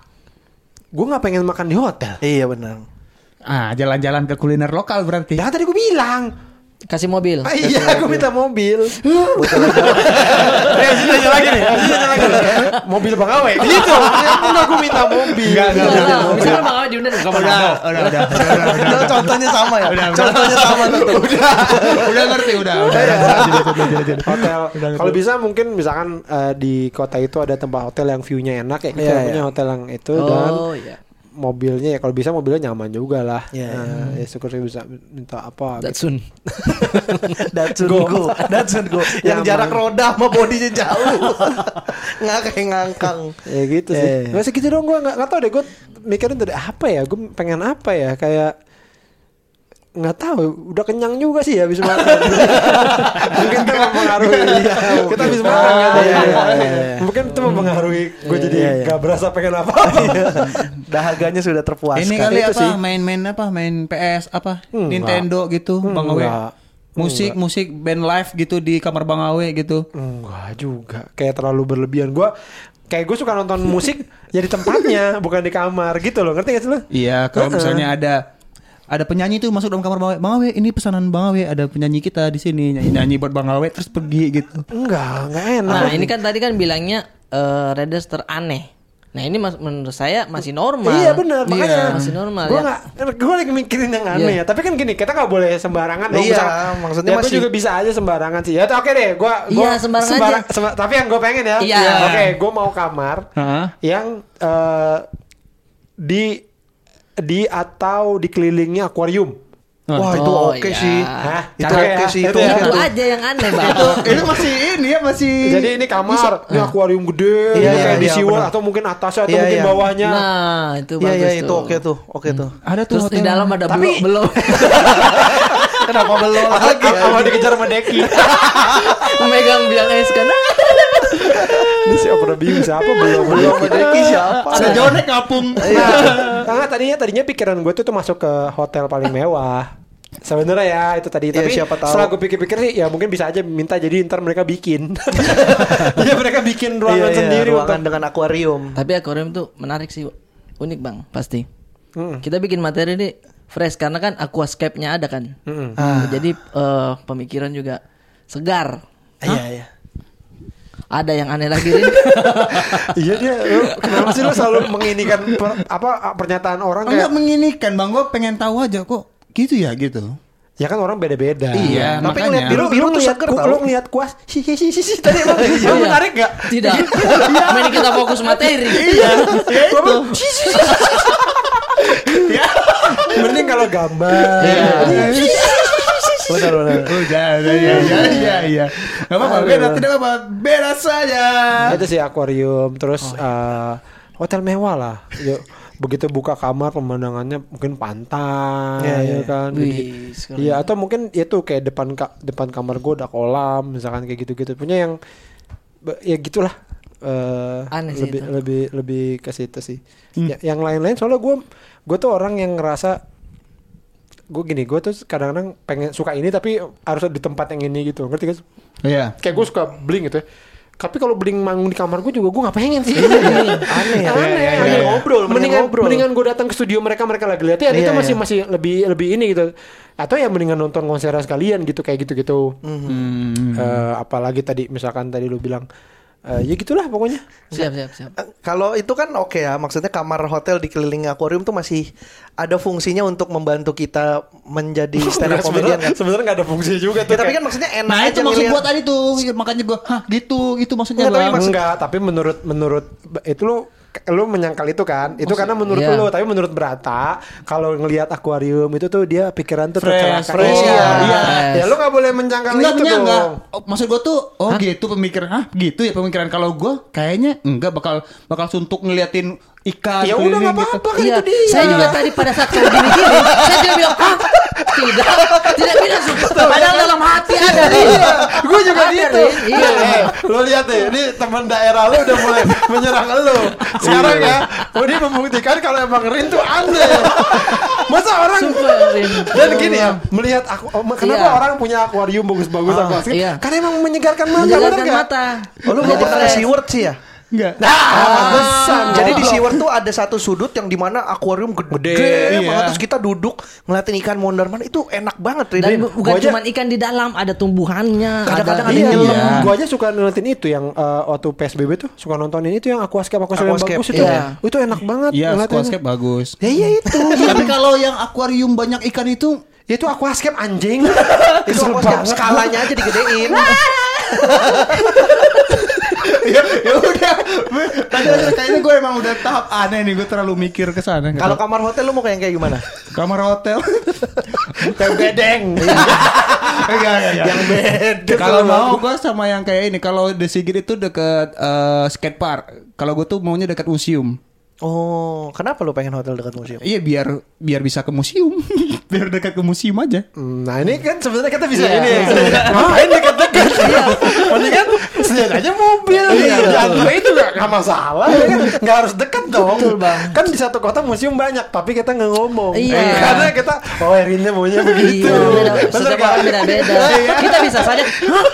Speaker 3: Gue nggak pengen makan di hotel.
Speaker 1: Iya benar.
Speaker 4: Ah, jalan-jalan ke kuliner lokal berarti.
Speaker 3: Ya kan tadi gue bilang.
Speaker 2: kasih mobil
Speaker 3: Ah, iya, gue minta mobil.
Speaker 1: Eh, sini aja lagi nih. Iya,
Speaker 3: mobil bang Awe. Gitu. Enggak, gue minta mobil.
Speaker 4: Nggak, nggak,
Speaker 2: Nggak,
Speaker 4: nggak.
Speaker 2: nggak. misalnya bang Awe diundang ke
Speaker 4: udah,
Speaker 2: Manado
Speaker 4: udah, udah, udah, udah.
Speaker 1: Nah, contohnya sama ya.
Speaker 4: Udah, udah.
Speaker 1: contohnya sama tuh.
Speaker 4: udah ngerti udah udah
Speaker 3: Iya. Hotel. Kalau bisa mungkin misalkan eh, di kota itu ada tempat hotel yang view-nya enak ya. Kita
Speaker 1: Iya,
Speaker 3: punya
Speaker 1: iya.
Speaker 3: hotel yang itu dan
Speaker 2: oh iya
Speaker 3: mobilnya ya kalau bisa mobilnya nyaman juga lah.
Speaker 1: Iya, iya.
Speaker 3: Eh, ya syukur bisa minta apa.
Speaker 2: Datsun
Speaker 1: Datsun go. Datsun go. Yang
Speaker 3: Nyaman.
Speaker 1: jarak roda sama bodinya jauh. Ngakeng ngangkang.
Speaker 3: Ya gitu
Speaker 1: Iya,
Speaker 3: sih.
Speaker 1: iya.
Speaker 3: Masih gitu dong gue nggak nggak tahu deh gue mikirin tadi apa ya gue pengen apa ya kayak nggak tahu udah kenyang juga sih ya habis makan Iya, mungkin itu mempengaruhi kita habis makan
Speaker 1: Ah,
Speaker 3: kan,
Speaker 1: iya,
Speaker 3: ya.
Speaker 1: iya, iya, iya.
Speaker 3: mungkin itu mempengaruhi gue
Speaker 1: Iya,
Speaker 3: jadi
Speaker 1: iya, iya.
Speaker 3: nggak berasa pengen apa
Speaker 1: Dahaganya sudah terpuaskan.
Speaker 4: ini kali
Speaker 3: Itu
Speaker 4: apa
Speaker 3: sih.
Speaker 4: main-main apa main PS apa
Speaker 3: Hmm. Enggak. Hmm,
Speaker 4: Nintendo gitu Bang Awe
Speaker 3: Enggak.
Speaker 4: musik musik band live gitu di kamar Bang Awe gitu
Speaker 3: enggak juga kayak terlalu berlebihan gue kayak gue suka nonton musik ya di tempatnya bukan di kamar gitu loh ngerti gak sih lo
Speaker 4: iya kalau
Speaker 3: Heeh.
Speaker 4: misalnya ada ada penyanyi tuh masuk dalam kamar Bang Awe Bang Awe ini pesanan Bang Awe ada penyanyi kita di sini nyanyi nyanyi buat Bang Awe terus pergi gitu
Speaker 3: enggak enggak enak
Speaker 2: nah ini kan tadi kan bilangnya eh Raiders teraneh nah ini mas- menurut saya masih normal
Speaker 3: Iya benar makanya
Speaker 2: masih normal
Speaker 3: Gue
Speaker 2: ya.
Speaker 3: nggak, gue lagi mikirin yang aneh ya.
Speaker 2: Iya.
Speaker 3: Tapi kan gini, kita nggak boleh sembarangan. dong,
Speaker 1: Iya,
Speaker 3: misalkan.
Speaker 1: maksudnya
Speaker 3: ya,
Speaker 1: masih-
Speaker 3: Gue juga bisa aja sembarangan sih. Ya oke deh, gue
Speaker 2: Iya, sembarang aja.
Speaker 3: tapi yang gue pengen ya.
Speaker 2: Iya.
Speaker 3: Oke, gue mau kamar
Speaker 4: Heeh.
Speaker 3: yang eh, di di atau dikelilingi akuarium.
Speaker 1: Wah, itu
Speaker 2: Oh,
Speaker 1: oke
Speaker 2: iya.
Speaker 1: sih.
Speaker 2: Hah?
Speaker 1: Itu
Speaker 3: Cakep
Speaker 1: oke
Speaker 3: ya.
Speaker 1: sih itu.
Speaker 3: Itu
Speaker 1: oke.
Speaker 2: itu aja yang aneh bang
Speaker 4: itu masih ini ya masih
Speaker 3: Jadi ini kamar, ini akuarium
Speaker 1: Iya,
Speaker 3: gede, gitu,
Speaker 1: iya,
Speaker 3: kayak di
Speaker 1: iya,
Speaker 3: SeaWorld
Speaker 1: benar.
Speaker 3: atau mungkin atasnya atau
Speaker 1: Iya,
Speaker 3: mungkin
Speaker 1: iya.
Speaker 3: bawahnya.
Speaker 2: nah itu
Speaker 1: Iya
Speaker 2: bagus
Speaker 1: iya itu oke tuh. Oke tuh.
Speaker 4: ada tuh
Speaker 2: terus di
Speaker 4: hotel.
Speaker 2: dalam ada
Speaker 3: Tapi-
Speaker 2: belum
Speaker 1: Kenapa belum
Speaker 3: Lagi,
Speaker 1: lagi?
Speaker 3: sama dikejar sama Deki.
Speaker 2: megang biang es kan
Speaker 3: Ini sih over abuse siapa belum belum
Speaker 1: Belum ada siapa?
Speaker 4: sejonek ngapung
Speaker 3: Nah, karena tadinya tadinya pikiran gue tuh, tuh masuk ke hotel paling mewah. Sebenarnya ya itu tadi
Speaker 1: Iya,
Speaker 3: tapi
Speaker 1: siapa tahu.
Speaker 3: setelah gue pikir-pikir sih ya mungkin bisa aja minta jadi ntar mereka bikin. Iya mereka bikin ruangan
Speaker 1: Iya, iya,
Speaker 3: sendiri
Speaker 1: ruangan
Speaker 3: untuk
Speaker 1: dengan akuarium.
Speaker 2: tapi akuarium tuh menarik sih unik bang pasti
Speaker 3: Mm-mm.
Speaker 2: kita bikin materi ini fresh karena kan aquascape-nya ada kan
Speaker 3: Mm-mm.
Speaker 1: Ah.
Speaker 2: jadi eh, pemikiran juga segar
Speaker 1: Iya iya.
Speaker 2: ada yang aneh lagi Rin.
Speaker 3: Iya dia lu, kenapa sih lu selalu menginikan per- apa pernyataan orang
Speaker 4: Enggak
Speaker 3: kayak
Speaker 4: menginikan bang, gue pengen tahu aja kok gitu ya gitu.
Speaker 3: ya kan orang beda-beda.
Speaker 4: Iya,
Speaker 1: Tapi
Speaker 4: makanya.
Speaker 1: ngeliat
Speaker 3: Lu
Speaker 1: biru-biru
Speaker 3: lu
Speaker 1: tuh
Speaker 3: ngeliat
Speaker 1: seger
Speaker 3: ku-
Speaker 1: tau.
Speaker 3: Iya, lu ngeliat kuas. Hi hi hi hi, hi. tadi emang gitu. emang
Speaker 2: Iya.
Speaker 3: menarik gak?
Speaker 2: tidak mending kita fokus materi
Speaker 4: Gitu?
Speaker 3: Gua bilang, "Hi, hi, hi, hi." Mending kalau gambar.
Speaker 4: Iya.
Speaker 1: Benar benar.
Speaker 4: Udah, udah, ya, ya, ya, ya. Gak apa-apa, beda tidak apa, beda saja.
Speaker 2: Iya. Oh,
Speaker 3: Itu sih akuarium terus eh, hotel mewah lah. Yuk. begitu buka kamar pemandangannya mungkin pantai
Speaker 1: Iya, iya,
Speaker 3: ya kan Jadi-
Speaker 2: Wih, sekarang-
Speaker 3: Iya atau mungkin ya tuh kayak depan ka- depan kamar gue ada kolam misalkan kayak gitu-gitu punya yang be- ya gitulah eh
Speaker 2: Aneh sih
Speaker 3: lebih
Speaker 2: itu.
Speaker 3: lebih lebih ke situ sih. Ya, yang lain-lain soalnya gue gue tuh orang yang ngerasa gue gini gue tuh kadang-kadang pengen suka ini tapi harus di tempat yang ini gitu ngerti gak? sih?
Speaker 4: Iya.
Speaker 3: Kayak gue suka bling gitu ya. Tapi kalau bling manggung di kamar gue juga gue nggak pengen sih. aneh,
Speaker 1: Iya, ya?
Speaker 3: aneh.
Speaker 1: Iya, iya, iya. Ngobrol, mendingan
Speaker 3: mendingan
Speaker 1: ngobrol.
Speaker 3: mendingan gue datang ke studio mereka mereka lagi latihan
Speaker 1: Iya,
Speaker 3: itu masih
Speaker 1: iya.
Speaker 3: masih lebih lebih ini gitu. Atau ya mendingan nonton konser sekalian gitu kayak gitu gitu.
Speaker 1: Hmm.
Speaker 3: apalagi tadi misalkan tadi lu bilang eh, ya gitulah pokoknya.
Speaker 2: siap siap siap
Speaker 1: Eh, Kalau itu kan oke ya, maksudnya kamar hotel dikelilingi akuarium tuh masih ada fungsinya untuk membantu kita menjadi stand up comedian kan.
Speaker 3: Iya, sebenarnya nggak ada fungsi juga
Speaker 1: Ya, tapi kan maksudnya enak
Speaker 4: Nah
Speaker 1: aja
Speaker 4: itu maksud
Speaker 1: ngeliat-
Speaker 4: gua tadi tuh Ya, Makanya gua Hah gitu Gitu maksudnya
Speaker 1: Nggak, tapi
Speaker 4: Bang.
Speaker 1: maksud-
Speaker 3: enggak, tapi menurut menurut itu lu lu menyangkal itu kan? Itu karena menurut
Speaker 2: iya.
Speaker 3: lu, tapi menurut Berata kalau ngelihat akuarium itu tuh dia pikiran tuh
Speaker 4: Fresh,
Speaker 3: tercerahkan.
Speaker 4: fresh,
Speaker 3: Iya,
Speaker 4: ya.
Speaker 3: iya.
Speaker 2: Fresh.
Speaker 3: Ya lu nggak boleh menyangkal
Speaker 4: Enggak,
Speaker 3: itu
Speaker 4: enggak,
Speaker 3: dong.
Speaker 4: enggak. Oh, Maksud gua tuh, oh gitu pemikiran, ah gitu ya pemikiran. Kalau gua kayaknya enggak bakal bakal suntuk ngeliatin ikan.
Speaker 3: Ya udah
Speaker 4: keliling
Speaker 3: nggak
Speaker 4: gitu.
Speaker 3: apa-apa kan
Speaker 2: Iya,
Speaker 3: itu dia.
Speaker 2: saya juga tadi pada saat kamu gini gini, saya tidak bilang ah, tidak, tidak bilang sumpah. Padahal dalam hati ada nih.
Speaker 4: Gue juga
Speaker 2: Ada,
Speaker 4: gitu.
Speaker 2: Rin. Iya.
Speaker 4: Eh, lo lihat deh, ini teman daerah lo udah mulai menyerang lo.
Speaker 2: Iya.
Speaker 3: Sekarang ya, ini membuktikan kalau emang Rin tuh aneh. Masa orang
Speaker 2: Sumpah, Rin.
Speaker 3: dan gini ya melihat aku oh, kenapa
Speaker 2: Iya.
Speaker 3: orang punya akuarium bagus-bagus
Speaker 2: Ah,
Speaker 3: aquascape?
Speaker 2: iya.
Speaker 3: Karena emang menyegarkan mata, bener
Speaker 2: Menjalankan
Speaker 3: nggak?
Speaker 2: mata.
Speaker 1: Oh, lu belum
Speaker 2: Jadi
Speaker 1: pernah ke
Speaker 2: fresh.
Speaker 1: SeaWorld sih ya?
Speaker 4: Enggak.
Speaker 1: Ah, Jadi di SeaWorld tuh ada satu sudut yang dimana akuarium gede,
Speaker 3: Gede,
Speaker 1: banget
Speaker 3: iya.
Speaker 1: terus kita duduk ngeliatin ikan mondar mandir itu enak banget
Speaker 2: Dan
Speaker 1: Rin.
Speaker 2: bu- bukan
Speaker 3: Gua aja-
Speaker 2: cuma ikan di dalam, ada tumbuhannya.
Speaker 1: Kadang-kadang
Speaker 2: Nah,
Speaker 1: ada
Speaker 3: Iya,
Speaker 1: yang
Speaker 3: iya.
Speaker 2: ya.
Speaker 1: nyelam.
Speaker 3: Gua aja suka nontonin itu yang eh, waktu PSBB tuh suka nontonin itu yang aquascape aquascape, yang
Speaker 1: Aquascape,
Speaker 3: bagus itu.
Speaker 2: iya.
Speaker 3: Itu enak banget.
Speaker 4: Iya,
Speaker 3: ngeliatin.
Speaker 4: aquascape bagus.
Speaker 3: Ya iya itu.
Speaker 4: Tapi kalau yang akuarium banyak ikan itu
Speaker 3: Ya, itu aquascape anjing.
Speaker 1: itu
Speaker 3: itu
Speaker 1: aku
Speaker 3: banget.
Speaker 1: skalanya aja digedein.
Speaker 4: ya, ya udah. Tadi aja kayaknya gue emang udah tahap aneh nih, gue terlalu mikir ke sana.
Speaker 1: Kalau kamar hotel lu mau kayak yang kayak gimana?
Speaker 4: kamar hotel
Speaker 3: Yang bedeng.
Speaker 2: Iya.
Speaker 4: enggak, enggak, enggak.
Speaker 3: yang bedeng.
Speaker 4: Kalau mau gue sama yang kayak ini, kalau The Sigit itu deket eh, skate park. Kalau gue tuh maunya dekat museum.
Speaker 1: Oh, kenapa lu pengen hotel dekat museum?
Speaker 4: Iya biar biar bisa ke museum, biar dekat ke museum aja.
Speaker 3: Hmm, Nah ini kan sebenarnya kita bisa
Speaker 2: Iya.
Speaker 3: ini ya. Ngapain deket-deket Mendingan kan sediain aja mobil
Speaker 4: Iya.
Speaker 3: Diantre itu gak, gak masalah ya kan? Gak harus deket dong
Speaker 2: Iya. Betul, Bang.
Speaker 3: Kan di satu kota museum banyak Tapi kita gak ngomong
Speaker 2: Iya.
Speaker 3: Karena kita Oh Erinnya maunya begitu
Speaker 2: Iya, beda,
Speaker 3: gitu. Bener
Speaker 2: setiap
Speaker 3: nggak?
Speaker 2: orang beda-beda.
Speaker 3: Iya.
Speaker 2: Kita bisa saja, "Hah?"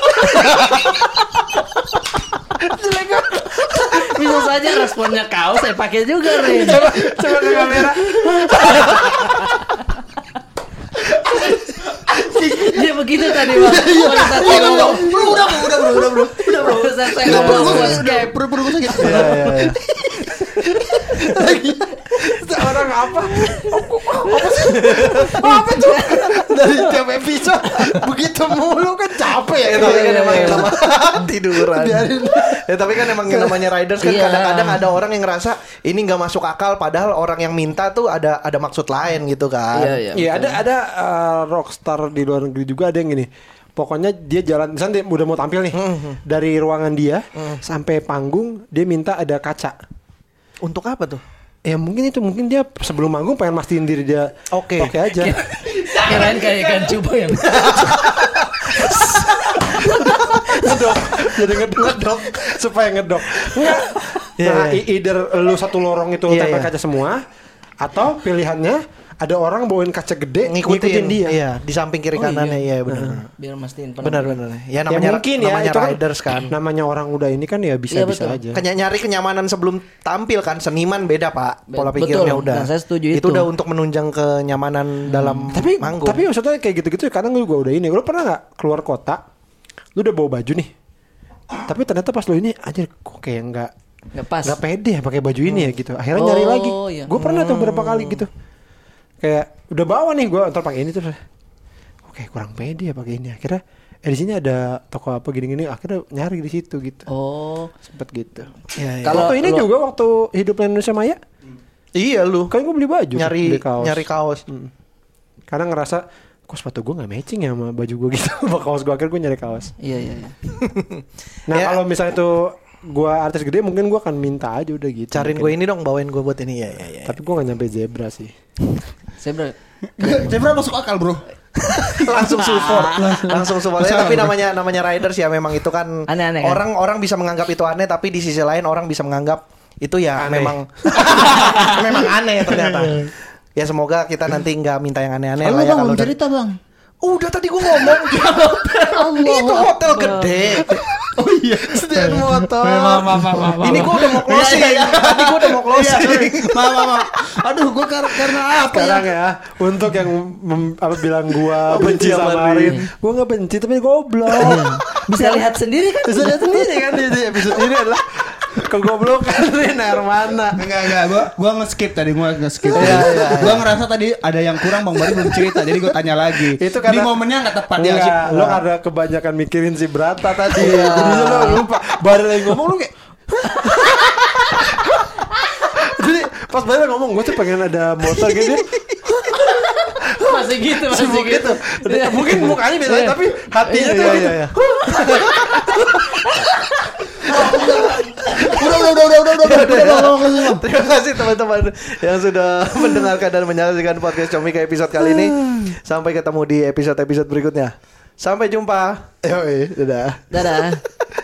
Speaker 2: bisa saja responnya kau, saya pakai juga Rin.
Speaker 3: Coba Coba ke kamera
Speaker 2: Dia begitu tadi bang. Pada saat saya ngomong,
Speaker 4: udah, udah, udah, udah, udah.
Speaker 2: udah bro, pada saat saya
Speaker 4: Udah, perut
Speaker 2: ngomong
Speaker 4: gue
Speaker 2: buat
Speaker 4: sakit, udah,
Speaker 2: skip.
Speaker 4: perut- perut gue sakit.
Speaker 3: Iya iya iya Orang apa? Oh, kok- oh, Apa sih? Oh, Apa tuh? Dari tiap episode begitu mulu kan capek ya
Speaker 1: Ya, tapi
Speaker 3: kita.
Speaker 1: kan emang yang nama tiduran. Ya tapi kan emang yang namanya riders kan
Speaker 2: Iya.
Speaker 1: kadang-kadang ada orang yang ngerasa ini nggak masuk akal padahal orang yang minta tuh ada ada maksud lain gitu kan.
Speaker 2: Iya, iya.
Speaker 3: Iya ada ada uh, rockstar di luar negeri juga ada yang ini. Pokoknya dia jalan misalnya dia udah mau tampil nih
Speaker 1: Hmm,
Speaker 3: dari ruangan dia sampai panggung dia minta ada kaca.
Speaker 1: Untuk apa tuh?
Speaker 3: Ya mungkin itu mungkin dia sebelum manggung pengen mastiin diri dia
Speaker 1: Oke.
Speaker 3: oke aja.
Speaker 2: Kirain kayak ikan cubo yang
Speaker 3: ngedok jadi ngedok ngedok supaya ngedok enggak
Speaker 1: Iya,
Speaker 3: nah
Speaker 1: iya.
Speaker 3: i- either lu satu lorong itu
Speaker 1: Iya,
Speaker 3: tempel
Speaker 1: iya.
Speaker 3: kaca semua atau pilihannya ada orang bawain kaca gede
Speaker 1: Ngikutin,
Speaker 3: ngikutin, dia
Speaker 1: Iya, di samping
Speaker 2: Oh,
Speaker 1: kiri kanannya iya, benar.
Speaker 2: biar mastiin
Speaker 1: Benar benar. Ya namanya
Speaker 3: ya mungkin ya
Speaker 1: namanya
Speaker 3: itu kan,
Speaker 1: riders kan.
Speaker 3: namanya orang udah ini kan ya bisa bisa
Speaker 2: betul.
Speaker 3: aja
Speaker 1: Kenya- nyari kenyamanan sebelum tampil kan seniman beda pak
Speaker 2: Be-
Speaker 1: pola
Speaker 2: betul.
Speaker 1: pikirnya udah
Speaker 2: Dan saya setuju itu.
Speaker 1: udah untuk menunjang kenyamanan dalam
Speaker 3: tapi
Speaker 1: manggung
Speaker 3: tapi maksudnya kayak gitu-gitu ya, kadang gue juga udah ini lu pernah nggak keluar kota lu udah bawa baju nih tapi ternyata pas lu ini aja kok kayak nggak
Speaker 2: Nggak pas.
Speaker 3: nggak pede ya pakai baju ini ya gitu akhirnya nyari
Speaker 2: Oh,
Speaker 3: lagi
Speaker 2: iya.
Speaker 3: gue pernah tuh berapa kali gitu kayak udah bawa nih gue ntar pakai ini terus oke kurang pede ya pakai ini akhirnya eh di sini ada toko apa gini-gini akhirnya nyari di situ gitu
Speaker 2: Oh,
Speaker 3: sempet gitu
Speaker 1: Iya, iya.
Speaker 2: Kalau
Speaker 3: kalau ini
Speaker 2: lu-
Speaker 3: juga waktu hidup Indonesia Maya
Speaker 1: iya lu
Speaker 3: kan gue beli baju
Speaker 1: nyari
Speaker 3: beli kaos.
Speaker 1: nyari kaos
Speaker 3: Mm. Karena ngerasa kok sepatu gue nggak matching ya sama baju gue gitu sama kaos gue akhirnya gue nyari kaos.
Speaker 2: iya iya. iya.
Speaker 3: Nah
Speaker 1: Ya.
Speaker 3: kalau misalnya itu gua artis gede mungkin gua akan minta aja udah gitu.
Speaker 1: Cariin gue ini dong, bawain gue buat ini ya. ya, ya.
Speaker 3: Tapi gua gak nyampe zebra sih.
Speaker 2: Saya ber
Speaker 4: Zebra masuk akal bro.
Speaker 1: langsung support, langsung support. Ya, tapi namanya namanya riders ya memang itu kan
Speaker 2: Aneh-aneh kan?
Speaker 1: orang orang bisa menganggap itu aneh, tapi di sisi lain orang bisa menganggap itu ya
Speaker 3: Aneh.
Speaker 1: memang memang aneh ternyata. Ya semoga kita nanti nggak minta yang aneh-aneh lah
Speaker 4: Halo
Speaker 1: ya
Speaker 4: bang,
Speaker 1: kalau
Speaker 4: belum
Speaker 1: udah- Oh,
Speaker 4: cerita Ya, bang.
Speaker 1: Udah tadi gue ngomong Itu hotel gede
Speaker 4: Oh iya.
Speaker 1: Sedan motor
Speaker 4: Maaf, maaf, maaf, maaf, maaf.
Speaker 1: Ini gue udah mau closing Tadi gue udah mau
Speaker 4: Iya, sorry.
Speaker 1: closing
Speaker 4: maaf, maaf, maaf. Aduh, gue karena, karena apa ya?
Speaker 3: Sekarang ya, untuk yang mem- apa bilang gua benci
Speaker 1: Benci sama
Speaker 3: sama Arin,
Speaker 1: Arin.
Speaker 3: gua nggak benci tapi goblok.
Speaker 2: bisa lihat sendiri kan?
Speaker 4: Bisa lihat sendiri kan di di episode ini adalah
Speaker 3: Kegoblokan Rin Hermana.
Speaker 4: Enggak, enggak, gua gua nge-skip tadi, gua nge-skip.
Speaker 1: Iya, iya,
Speaker 4: Gua ngerasa tadi ada yang kurang Bang Bari belum cerita, jadi gua tanya lagi.
Speaker 3: Itu
Speaker 4: di
Speaker 3: karena-
Speaker 4: momennya enggak tepat ya.
Speaker 3: Enggak,
Speaker 4: sih?
Speaker 3: lo karena kebanyakan mikirin si Brata tadi. Jadinya lo lupa. Baru lagi ngomong lo kayak Jadi pas Baru ngomong gue tuh pengen ada motor gitu.
Speaker 2: masih gitu, masih
Speaker 3: Sibuk
Speaker 2: gitu.
Speaker 3: gitu. Mungkin mukanya biasa
Speaker 2: Iya.
Speaker 3: tapi hatinya
Speaker 2: Iya,
Speaker 3: tuh
Speaker 2: iya,
Speaker 3: gitu.
Speaker 4: Udah, udah, udah, udah, udah, udah, udah, udah, udah, udah, udah.
Speaker 1: Terima kasih teman-teman Yang sudah mendengarkan dan menyaksikan podcast Comika episode kali ini Sampai ketemu di episode-episode berikutnya Sampai jumpa Yoi, dadah
Speaker 2: Dadah.